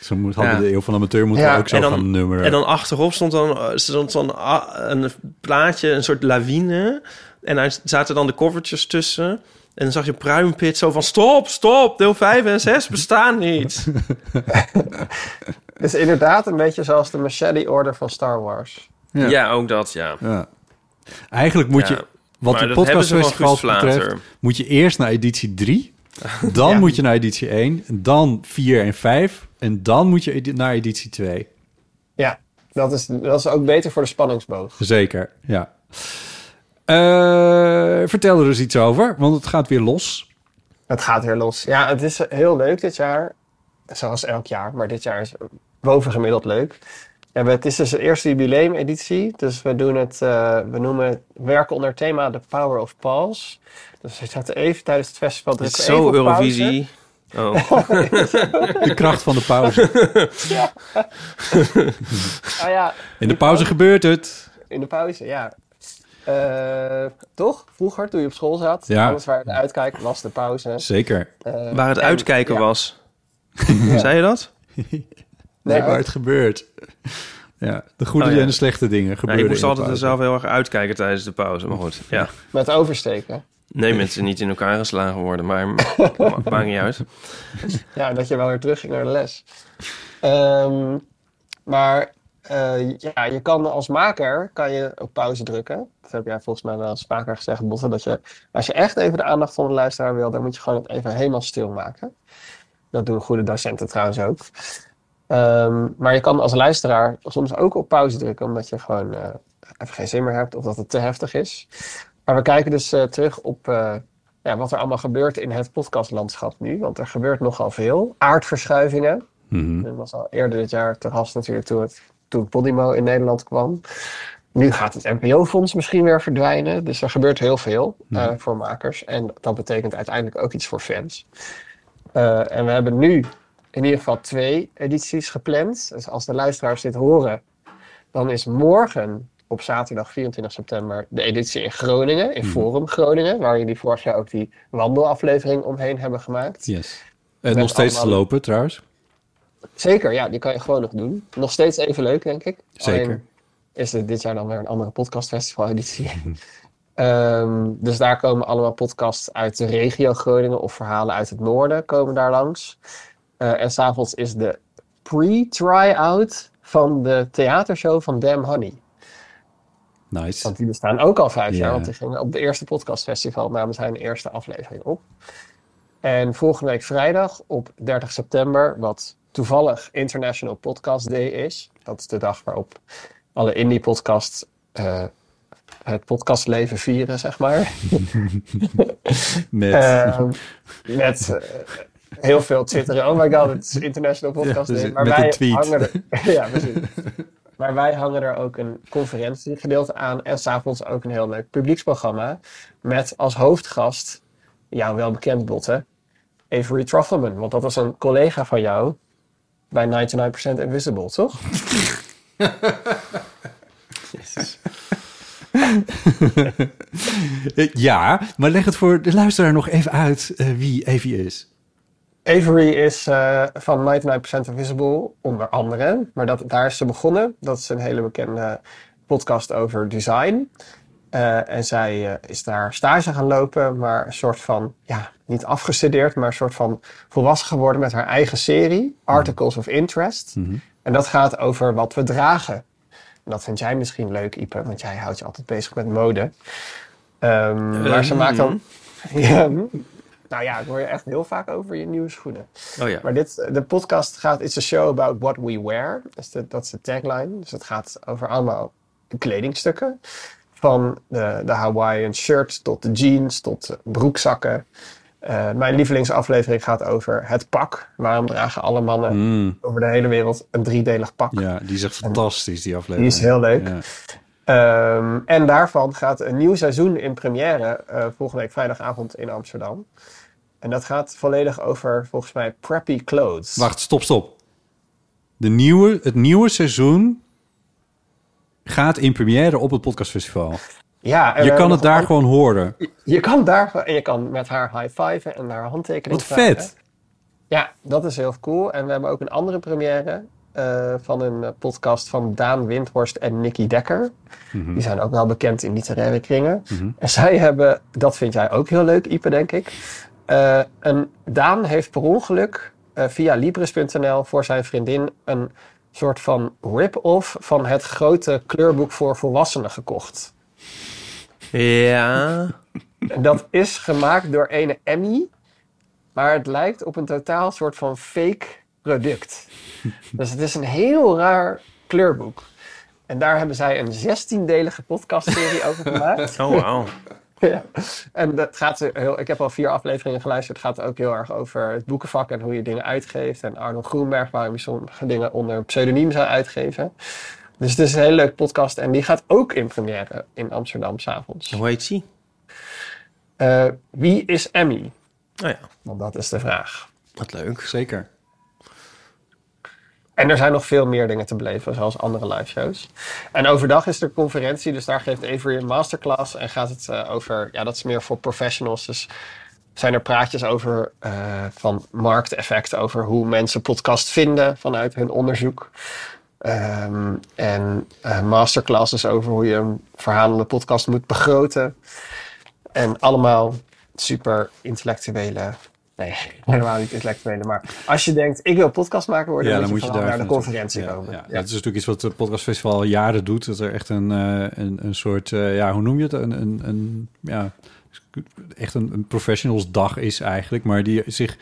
Zo moet, hadden Ja. de eeuw van amateur moeten Ja, we ook zo en dan- gaan nummeren. En dan achterop stond dan, eh, stond dan ah, een plaatje, een soort lawine. En daar zaten dan de covertjes tussen. En dan zag je Pruimpit zo van... Stop, stop, deel 5 en 6 bestaan niet. Het is inderdaad een beetje zoals de Machete Order van Star Wars. ja. Ja. ook dat, ja. Ja. Eigenlijk moet je, Ja. wat Maar de dat hebben ze van podcastfestivals Guus Vlater. betreft, moet je eerst naar editie 3. Dan moet je naar editie 1, dan 4 en 5. En dan moet je edi- naar editie 2. Ja, dat is, dat is ook beter voor de spanningsboog. Zeker, ja. Eh, vertel er eens iets over, want het gaat weer los. Het gaat weer los. Ja, het is heel leuk dit jaar. Zoals elk jaar, maar dit jaar is bovengemiddeld leuk. Ja, we- het is dus de eerste jubileumeditie. Dus we doen het, eh, we noemen het werken onder het thema The Power of Pals. Dus we zaten even tijdens het festival. Het drukken is we even zo op pauze. Eurovisie. Oh, De kracht van de pauze. Ah ja, In de pauze gebeurt het. in de pauze, ja. Eh, toch? Vroeger, toen je op school zat, Ja. alles waar je naar uitkijkt was de pauze. Zeker. Eh, waar het en- uitkijken ja. was. Zei je dat? Nou, Nee, Nee, waar het gebeurt. Ja, de goede Oh, ja. en de slechte dingen Nou, gebeuren. ik moest in de altijd er pauze. zelf heel erg uitkijken tijdens de pauze. Maar goed, ja. Met oversteken. Nee, mensen niet in elkaar geslagen worden. Maar ma- maakt niet uit. Ja, dat je wel weer terug ging naar de les. Ehm, maar eh, ja, je kan als maker kan je op pauze drukken. Dat heb jij volgens mij wel als vaker gezegd, Botte. Dat je, als je echt even de aandacht van de luisteraar wil, dan moet je gewoon het even helemaal stil maken. Dat doen goede docenten trouwens ook. Ehm, maar je kan als luisteraar soms ook op pauze drukken, omdat je gewoon eh, even geen zin meer hebt of dat het te heftig is. Maar we kijken dus eh, terug op eh, ja, wat er allemaal gebeurt in het podcastlandschap nu. Want er gebeurt nogal veel. Aardverschuivingen. Mhm. Dat was al eerder dit jaar te gast natuurlijk toen het toen Podimo in Nederland kwam. Nu gaat het NPO-fonds misschien weer verdwijnen. Dus er gebeurt heel veel eh, Ja. voor makers. En dat betekent uiteindelijk ook iets voor fans. Eh, en we hebben nu in ieder geval twee edities gepland. Dus als de luisteraars dit horen, dan is morgen op zaterdag 24 september de editie in Groningen, in Mhm. Forum Groningen, waar jullie vorig jaar ook die wandelaflevering omheen hebben gemaakt. Yes. Met En nog steeds te allemaal- lopen trouwens. Zeker, ja, die kan je gewoon nog doen. Nog steeds even leuk, denk ik. Zeker. Alleen is er dit jaar dan weer een andere podcastfestival-editie. Ehm, dus daar komen allemaal podcasts uit de regio Groningen of verhalen uit het noorden komen daar langs. Eh, en s'avonds is de pre-try-out van de theatershow van Damn Honey. Nice. Want die bestaan ook al vijf jaar, Ja. want die gingen op de eerste podcastfestival namens zijn eerste aflevering op. En volgende week vrijdag op 30 september, wat toevallig International Podcast Day is. Dat is de dag waarop alle indie podcasts eh, het podcastleven vieren, zeg maar. Met. Ehm, met eh, heel veel twitteren. Oh my god, het is International Podcast Ja, dus Day. Maar met wij een tweet. hangen er- ja, precies. Maar wij hangen er ook een conferentiegedeelte aan. En s'avonds ook een heel leuk publieksprogramma. Met als hoofdgast, jou wel bekend Botte, Avery Truffleman. Want dat was een collega van jou bij 99% Invisible, toch? Eh, ja, maar leg het voor de luisteraar nog even uit eh, wie Evie is. Avery is eh, van 99% Invisible, onder andere. Maar dat, daar is ze begonnen. Dat is een hele bekende podcast over design. Eh, en zij eh, is daar stage gaan lopen, maar een soort van, ja, niet afgestudeerd, maar een soort van volwassen geworden met haar eigen serie, Articles of Interest. En dat gaat over wat we dragen. En dat vind jij misschien leuk, Ipe, want jij houdt je altijd bezig met mode. Ehm, maar ze maakt dan. Ja, mm. nou ja, ik hoor je echt heel vaak over je nieuwe schoenen. Oh ja. Maar dit, de podcast gaat, it's a show about what we wear. Dat is de, dat is de tagline. Dus het gaat over allemaal kledingstukken. Van eh, de, de Hawaiian shirt tot de jeans tot de broekzakken. Eh, mijn lievelingsaflevering gaat over het pak. Waarom dragen alle mannen Mm, over de hele wereld een driedelig pak? ja, die is echt fantastisch, die Die aflevering. is heel leuk. Ja. Ehm, en daarvan gaat een nieuw seizoen in première eh, volgende week vrijdagavond in Amsterdam. En dat gaat volledig over volgens mij preppy clothes. Wacht, stop, stop. De nieuwe, het nieuwe seizoen gaat in première op het podcastfestival. Ja, en Je we hebben Eh, kan het nog daar gewoon horen. een- Je kan daar en je kan met haar high five en haar handtekening. Wat vragen. vet. Ja, dat is heel cool. En we hebben ook een andere première eh, van een eh, podcast van Daan Windhorst en Nicky Dekker. Die zijn ook wel bekend in literaire kringen. En zij hebben, dat vind jij ook heel leuk, Ipe, denk ik. Eh, een, Daan heeft per ongeluk eh, via Libris.nl voor zijn vriendin een soort van rip-off van het grote kleurboek voor volwassenen gekocht. Ja. En dat is gemaakt door ene Emmy. Maar het lijkt op een totaal soort van fake product. Dus het is een heel raar kleurboek. En daar hebben zij een 16-delige podcastserie over gemaakt. Oh, wauw. Ja. En dat gaat heel, ik heb al vier afleveringen geluisterd. Het gaat ook heel erg over het boekenvak en hoe je dingen uitgeeft. En Arno Groenberg, waarom je sommige dingen onder een pseudoniem zou uitgeven. Dus het is een hele leuke podcast. En die gaat ook in première in Amsterdam s'avonds. Hoe heet die? Eh, wie is Emmy? Oh ja. Want dat is de vraag. Wat leuk. Zeker. En er zijn nog veel meer dingen te beleven, zoals andere live shows. En overdag is er conferentie, dus daar geeft Avery een masterclass. En gaat het eh, over, ja, dat is meer voor professionals. Dus zijn er praatjes over eh, van markteffecten, over hoe mensen podcast vinden vanuit hun onderzoek. Ehm, en eh, masterclasses over hoe je een verhalende podcast moet begroten. En allemaal super intellectuele. Nee, helemaal niet intellectuele. Maar als je denkt, ik wil podcast maken worden, Ja, dan, dan moet je daar vooral naar de even conferentie naartoe. komen. Ja, ja. Dat is natuurlijk iets wat het podcastfestival al jaren doet. Dat er echt een, eh, een, een soort, eh, ja, hoe noem je het? Een, een, een ja, echt een, een professionalsdag is eigenlijk. Maar die zich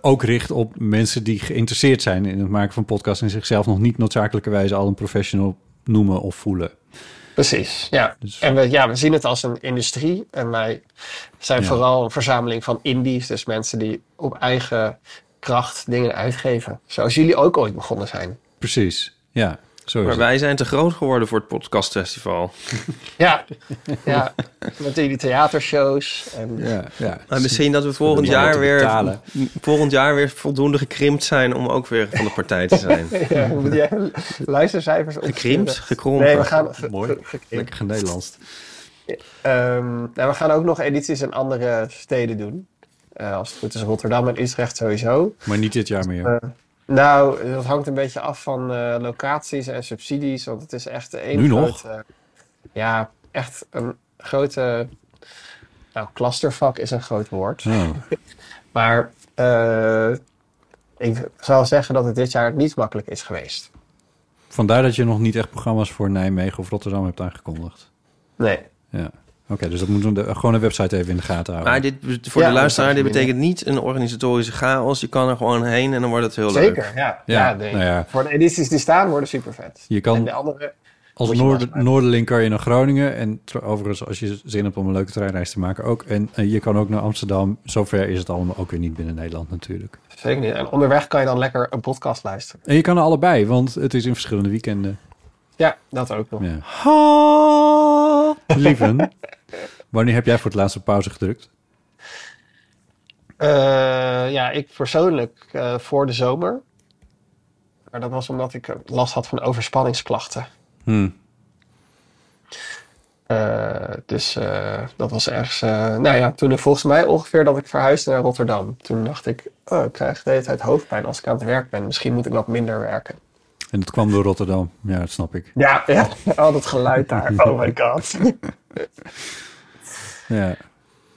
ook richt op mensen die geïnteresseerd zijn in het maken van podcasts. En zichzelf nog niet noodzakelijkerwijze al een professional noemen of voelen. Precies, ja. Dus- En we, ja, we zien het als een industrie. En wij zijn Ja. vooral een verzameling van indies. Dus mensen die op eigen kracht dingen uitgeven. Zoals jullie ook ooit begonnen zijn. Precies. Ja, zo is maar het. wij zijn te groot geworden voor het podcastfestival. Ja, ja. met die theatershows. En... Ja, ja. Maar misschien dat Nou, we volgend moeten jaar, weer, betalen. volgend jaar weer voldoende gekrimpt zijn om ook weer van de partij te zijn. Ja, hoe moet jij luistercijfers op. Gekrimpt, gekrompen. Nee, we gaan. ge- Mooi. ge- ge- Lekker genederlandst. ehm, nou, we gaan ook nog edities in andere steden doen. Eh, als het goed is, Rotterdam en Utrecht sowieso. Maar niet dit jaar meer. Eh, nou, dat hangt een beetje af van eh, locaties en subsidies. Want het is echt één Nu groot, nog? eh, ja, echt een grote... Nou, clustervak is een groot woord. Oh. Maar eh, ik zal zeggen dat het dit jaar niet makkelijk is geweest. Vandaar dat je nog niet echt programma's voor Nijmegen of Rotterdam hebt aangekondigd. Nee. Ja. Oké, dus dat moeten we de- gewoon de website even in de gaten houden. Maar dit, voor Ja, de luisteraar, dit dat is betekent niet een organisatorische chaos. Je kan er gewoon heen en dan wordt het heel leuk. Zeker, ja. Ja, ja, nee. nou ja. Voor de edities die staan worden super vet. Je kan- En de andere... Als Moet je Noord- vastmaken. Noorderling kan je naar Groningen. En tr- overigens, als je zin hebt om een leuke treinreis te maken ook. En eh, je kan ook naar Amsterdam. Zover is het allemaal ook weer niet binnen Nederland natuurlijk. Zeker niet. En onderweg kan je dan lekker een podcast luisteren. En je kan er allebei, want het is in verschillende weekenden. Ja, dat ook nog. Ja. Lieven, wanneer heb jij voor het laatst op pauze gedrukt? Eh, ja, ik persoonlijk eh, voor de zomer. Maar dat was omdat ik last had van overspanningsklachten. Hmm. Eh, dus eh, dat was ergens. eh, nou ja, toen volgens mij ongeveer dat ik verhuisde naar Rotterdam. Toen dacht ik, oh, ik krijg de hele tijd hoofdpijn als ik aan het werk ben. Misschien moet ik wat minder werken. En dat kwam door Rotterdam. Ja, dat snap ik. Ja, ja. al dat geluid daar. Oh my god. Ja.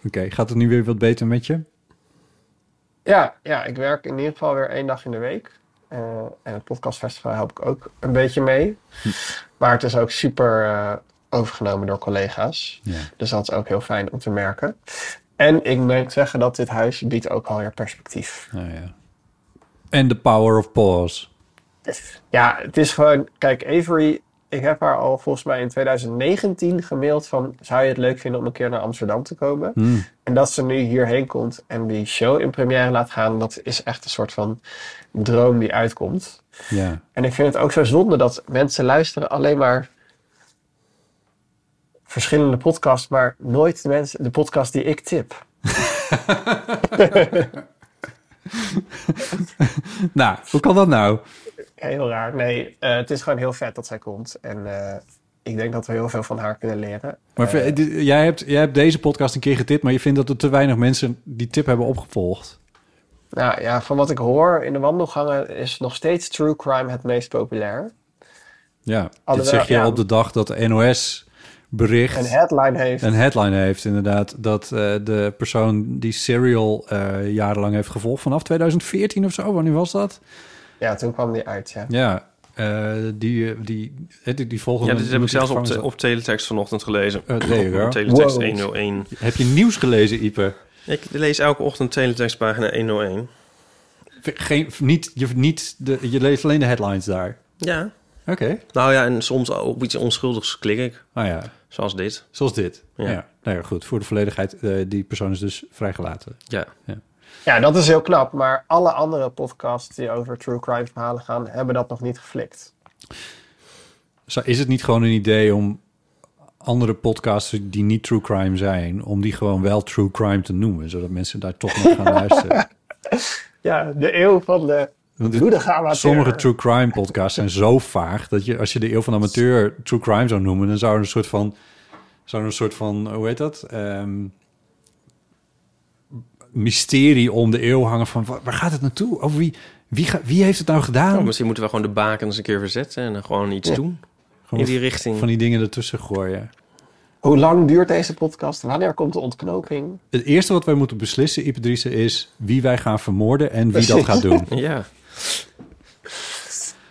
Oké, gaat het nu weer wat beter met je? Ja, ja, ik werk in ieder geval weer één dag in de week. Eh, en het podcastfestival help ik ook een beetje mee. Maar het is ook super eh, overgenomen door collega's. Ja. Dus dat is ook heel fijn om te merken. En ik moet zeggen dat dit huis biedt ook alweer perspectief. Nou ja. En de power of pause. Ja, het is gewoon... Kijk, Avery, ik heb haar al volgens mij in 2019 gemaild van... Zou je het leuk vinden om een keer naar Amsterdam te komen? Hmm. En dat ze nu hierheen komt en die show in première laat gaan... Dat is echt een soort van droom die uitkomt. Ja. En ik vind het ook zo zonde dat mensen luisteren alleen maar verschillende podcasts, maar nooit de, mensen, de podcast die ik tip. Nou, hoe kan dat nou? Heel raar. Nee, eh, het is gewoon heel vet dat zij komt. En eh, ik denk dat we heel veel van haar kunnen leren. Maar Eh, vind- dit- jij, hebt, jij hebt deze podcast een keer getipt, maar je vindt dat er te weinig mensen die tip hebben opgevolgd. nou ja, van wat ik hoor in de wandelgangen is nog steeds true crime het meest populair. Ja, dat Alhoewel, zeg je ja. op de dag dat de NOS bericht Een headline heeft. een headline heeft inderdaad. Dat eh, de persoon die Serial eh, jarenlang heeft gevolgd vanaf 2014 of zo, wanneer was dat? Ja, toen kwam die uit. Ja. Ja, eh, die, eh, die, eh, die, die volgende... Ja, dit heb ik zelfs op, de te- op teletext vanochtend gelezen. Eh, there you go. Op teletext Wow. 101. Heb je nieuws gelezen, Ipe? Ik lees elke ochtend teletextpagina 101. Geen, niet, je, niet de, je leest alleen de headlines daar. Ja. Oké. Nou ja, en soms op iets onschuldigs klik ik. Ah ja, Zoals dit. zoals dit. Ja. Ja. Nou ja, goed. Voor de volledigheid, eh, die persoon is dus vrijgelaten. Ja. ja, dat is heel knap. Maar alle andere podcasts die over true crime verhalen gaan, hebben dat nog niet geflikt. Zo- Is het niet gewoon een idee om andere podcasts die niet true crime zijn... om die gewoon wel true crime te noemen, zodat mensen daar toch naar gaan luisteren? Ja, de eeuw van de Want dit- bloedige amateur. sommige true crime podcasts zijn zo vaag... dat je als je de eeuw van de amateur true crime zou noemen... dan zou er een soort van, zou er een soort van hoe heet dat... Ehm, mysterie om de eeuw hangen van... wa- waar gaat het naartoe? Over wie, wie, ga- wie heeft het nou gedaan? Oh, misschien moeten we gewoon de bakens een keer verzetten en dan gewoon iets doen. Gewoon in die richting. Van die dingen ertussen gooien. Hoe lang duurt deze podcast? Wanneer komt de ontknoping? Het eerste wat wij moeten beslissen, Ipedrice, is wie wij gaan vermoorden en wie dat gaat doen. Ja.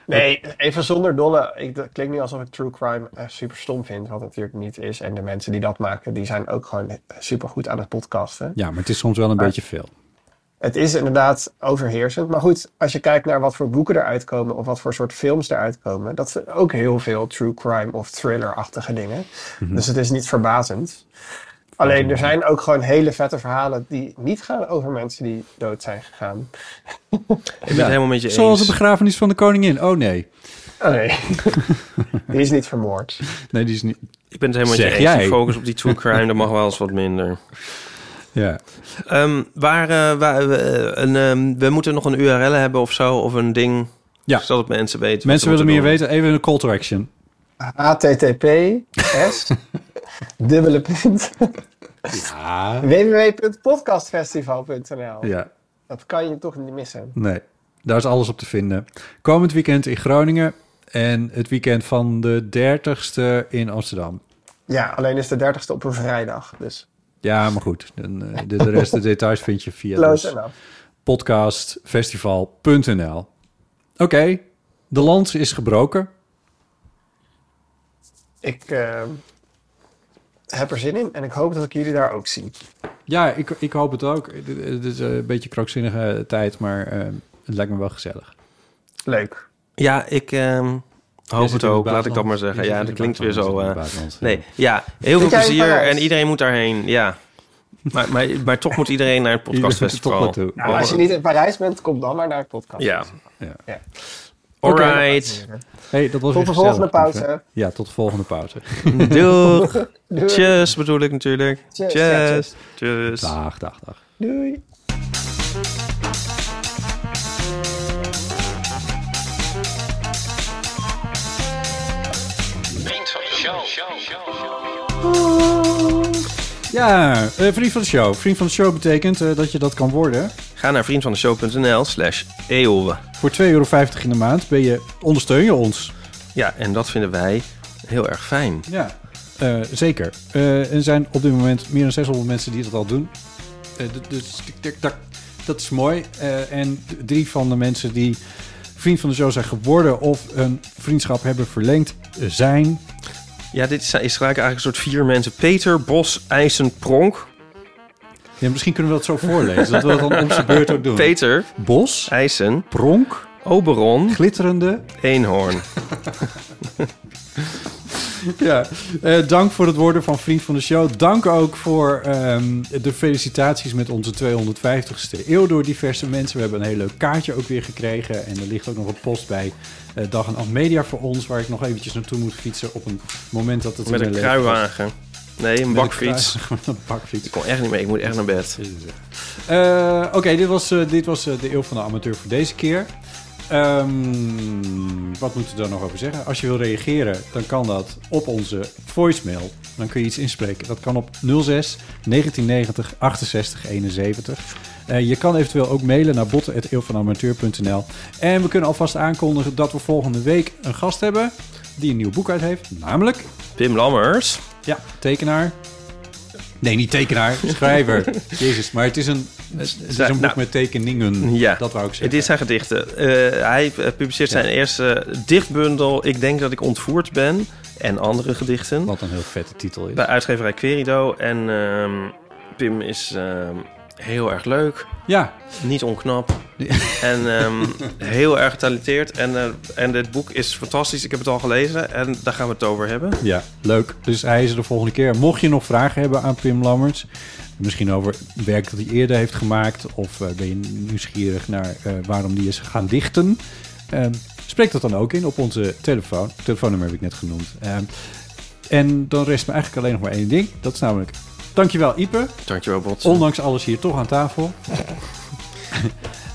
Nee, even zonder dolle. Ik, dat klinkt nu alsof ik true crime eh, super stom vind, wat het natuurlijk niet is. En de mensen die dat maken, die zijn ook gewoon super goed aan het podcasten. Ja, maar het is soms wel een beetje veel. Het is inderdaad overheersend. Maar goed, als je kijkt naar wat voor boeken eruit komen of wat voor soort films eruit komen, dat zijn ook heel veel true crime of thriller-achtige dingen. Dus het is niet verbazend. Alleen er zijn ook gewoon hele vette verhalen die niet gaan over mensen die dood zijn gegaan. Ik ben het helemaal met je Zoals de eens. begrafenis van de koningin. Oh nee. Oh nee, die is niet vermoord. Nee, die is niet... Ik ben het helemaal met Zeg je eens. jij. Die focus op die true crime, dat mag wel eens wat minder. Ja. Ehm, waar, eh, waar, eh, een, ehm, we moeten nog een URL hebben of zo, of een ding. Ja. Zodat mensen weten. Mensen wat ze willen meer moeten weten. Even een call to action. HTTPS, dubbele punt, www.podcastfestival.nl. Ja. Dat kan je toch niet missen. Nee, daar is alles op te vinden. Komend weekend in Groningen en het weekend van de 30ste in Amsterdam. Ja, alleen is de 30ste op een vrijdag. Dus Ja, maar goed. dan, eh, de, de rest de details vind je via close dus enough. podcastfestival.nl. Oké, de lans is gebroken. Ik eh, heb er zin in en ik hoop dat ik jullie daar ook zie. Ja, ik, ik hoop het ook. Het- Het is eh, een beetje krankzinnige tijd, maar eh, het lijkt me wel gezellig. Leuk. doen. Ja, ik ehm, Jij hoop zit het in het ook. Laat ik dat buitenland. maar zeggen. Jij Ja, zit dat in het klinkt weer zo. eh, buitenland. Je zit in het nee, ja, heel veel Zit jij in plezier Parijs? en iedereen moet daarheen. Ja. Maar, maar, maar toch moet iedereen naar het Iedereen moet er toch podcastfestival. naartoe. Nou, als je niet in Parijs bent, kom dan maar naar het podcast. Ja. Ja. Ja. Alright. Hey, dat was Tot de volgende weer gezellig, lief, hè? pauze. Ja, tot de volgende pauze. Doeg. Doei. Tjus bedoel ik natuurlijk. Tjus, Tjus. ja, Tjus. tjus. Dag, dag, dag. Doei. Ja, eh, vriend van de show. Vriend van de show betekent eh, dat je dat kan worden. Ga naar vriendvandeshow.nl slash eeuwen. Voor 2,50 euro in de maand ben je, ondersteun je ons. Ja, en dat vinden wij heel erg fijn. Ja. zeker. Eh, er zijn op dit moment meer dan 600 mensen die dat al doen. Eh, d- dus tik, tik, tak. dat is mooi. Eh, en d- drie van de mensen die vriend van de show zijn geworden of een vriendschap hebben verlengd eh, zijn... Ja, dit is, is gelijk eigenlijk een soort vier mensen. Peter, Bos, IJssen, Pronk. Ja, misschien kunnen we dat zo voorlezen, dat we dat dan om zijn beurt ook doen. Peter, Bos, IJssen, Pronk, Oberon, Glitterende, Eenhoorn. Ja, eh, dank voor het worden van Vriend van de Show. Dank ook voor ehm, de felicitaties met onze 250ste eeuw door diverse mensen. We hebben een heel leuk kaartje ook weer gekregen. En er ligt ook nog een post bij eh, Dag en Nacht Media voor ons... waar ik nog eventjes naartoe moet fietsen op een moment dat het... Met in een mijn leven past. kruiwagen. Nee, een Met een bakfiets. krui- Met een bakfiets. Ik kon echt niet meer, ik moet echt naar bed. Eh, Oké, dit was, eh, dit was eh, de eeuw van de amateur voor deze keer. Ehm, wat moeten we daar nog over zeggen? Als je wil reageren, dan kan dat op onze voicemail. Dan kun je iets inspreken. Dat kan op 06 1990 68 71. Eh, je kan eventueel ook mailen naar botten.eeuwvanamateur.nl. En we kunnen alvast aankondigen dat we volgende week een gast hebben... die een nieuw boek uit heeft, namelijk... Pim Lammers. Ja, tekenaar. Nee, niet tekenaar, schrijver. Jezus, maar het is een, het is een boek Nou, met tekeningen. Ja. Dat wou ik Het zeggen. is zijn gedichten. Eh, hij eh, publiceert zijn eerste dichtbundel. Ik denk dat ik ontvoerd ben. En andere gedichten. Wat een heel vette titel is. Bij uitgeverij Querido. En ehm, Pim is ehm, heel erg leuk. Ja, Niet onknap. En ehm, heel erg getalenteerd. En, eh, en dit boek is fantastisch. Ik heb het al gelezen. En daar gaan we het over hebben. ja, leuk. Dus hij is er de volgende keer. Mocht je nog vragen hebben aan Pim Lammers... misschien over werk dat hij eerder heeft gemaakt... of eh, ben je nieuwsgierig naar eh, waarom die is gaan dichten... ehm, spreek dat dan ook in op onze telefoon. Telefoonnummer heb ik net genoemd. Ehm, en dan rest me eigenlijk alleen nog maar één ding. Dat is namelijk... Dankjewel, Ipe. Dankjewel, Bot. Ondanks alles hier toch aan tafel.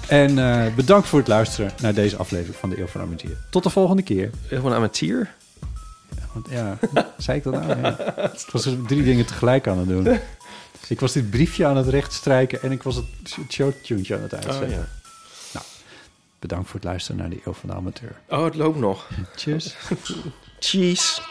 en eh, bedankt voor het luisteren naar deze aflevering van de Eeuw van Amateur. Tot de volgende keer. Heel van amateur. Want ja, zei ik dat nou? Ja. Ik was er drie dingen tegelijk aan het doen. Ik was dit briefje aan het rechtstrijken en ik was het showtuntje aan het uitzetten. Oh, ja. Bedankt voor het luisteren naar de Eeuw van de Amateur. oh, het loopt nog. Cheers. Cheese.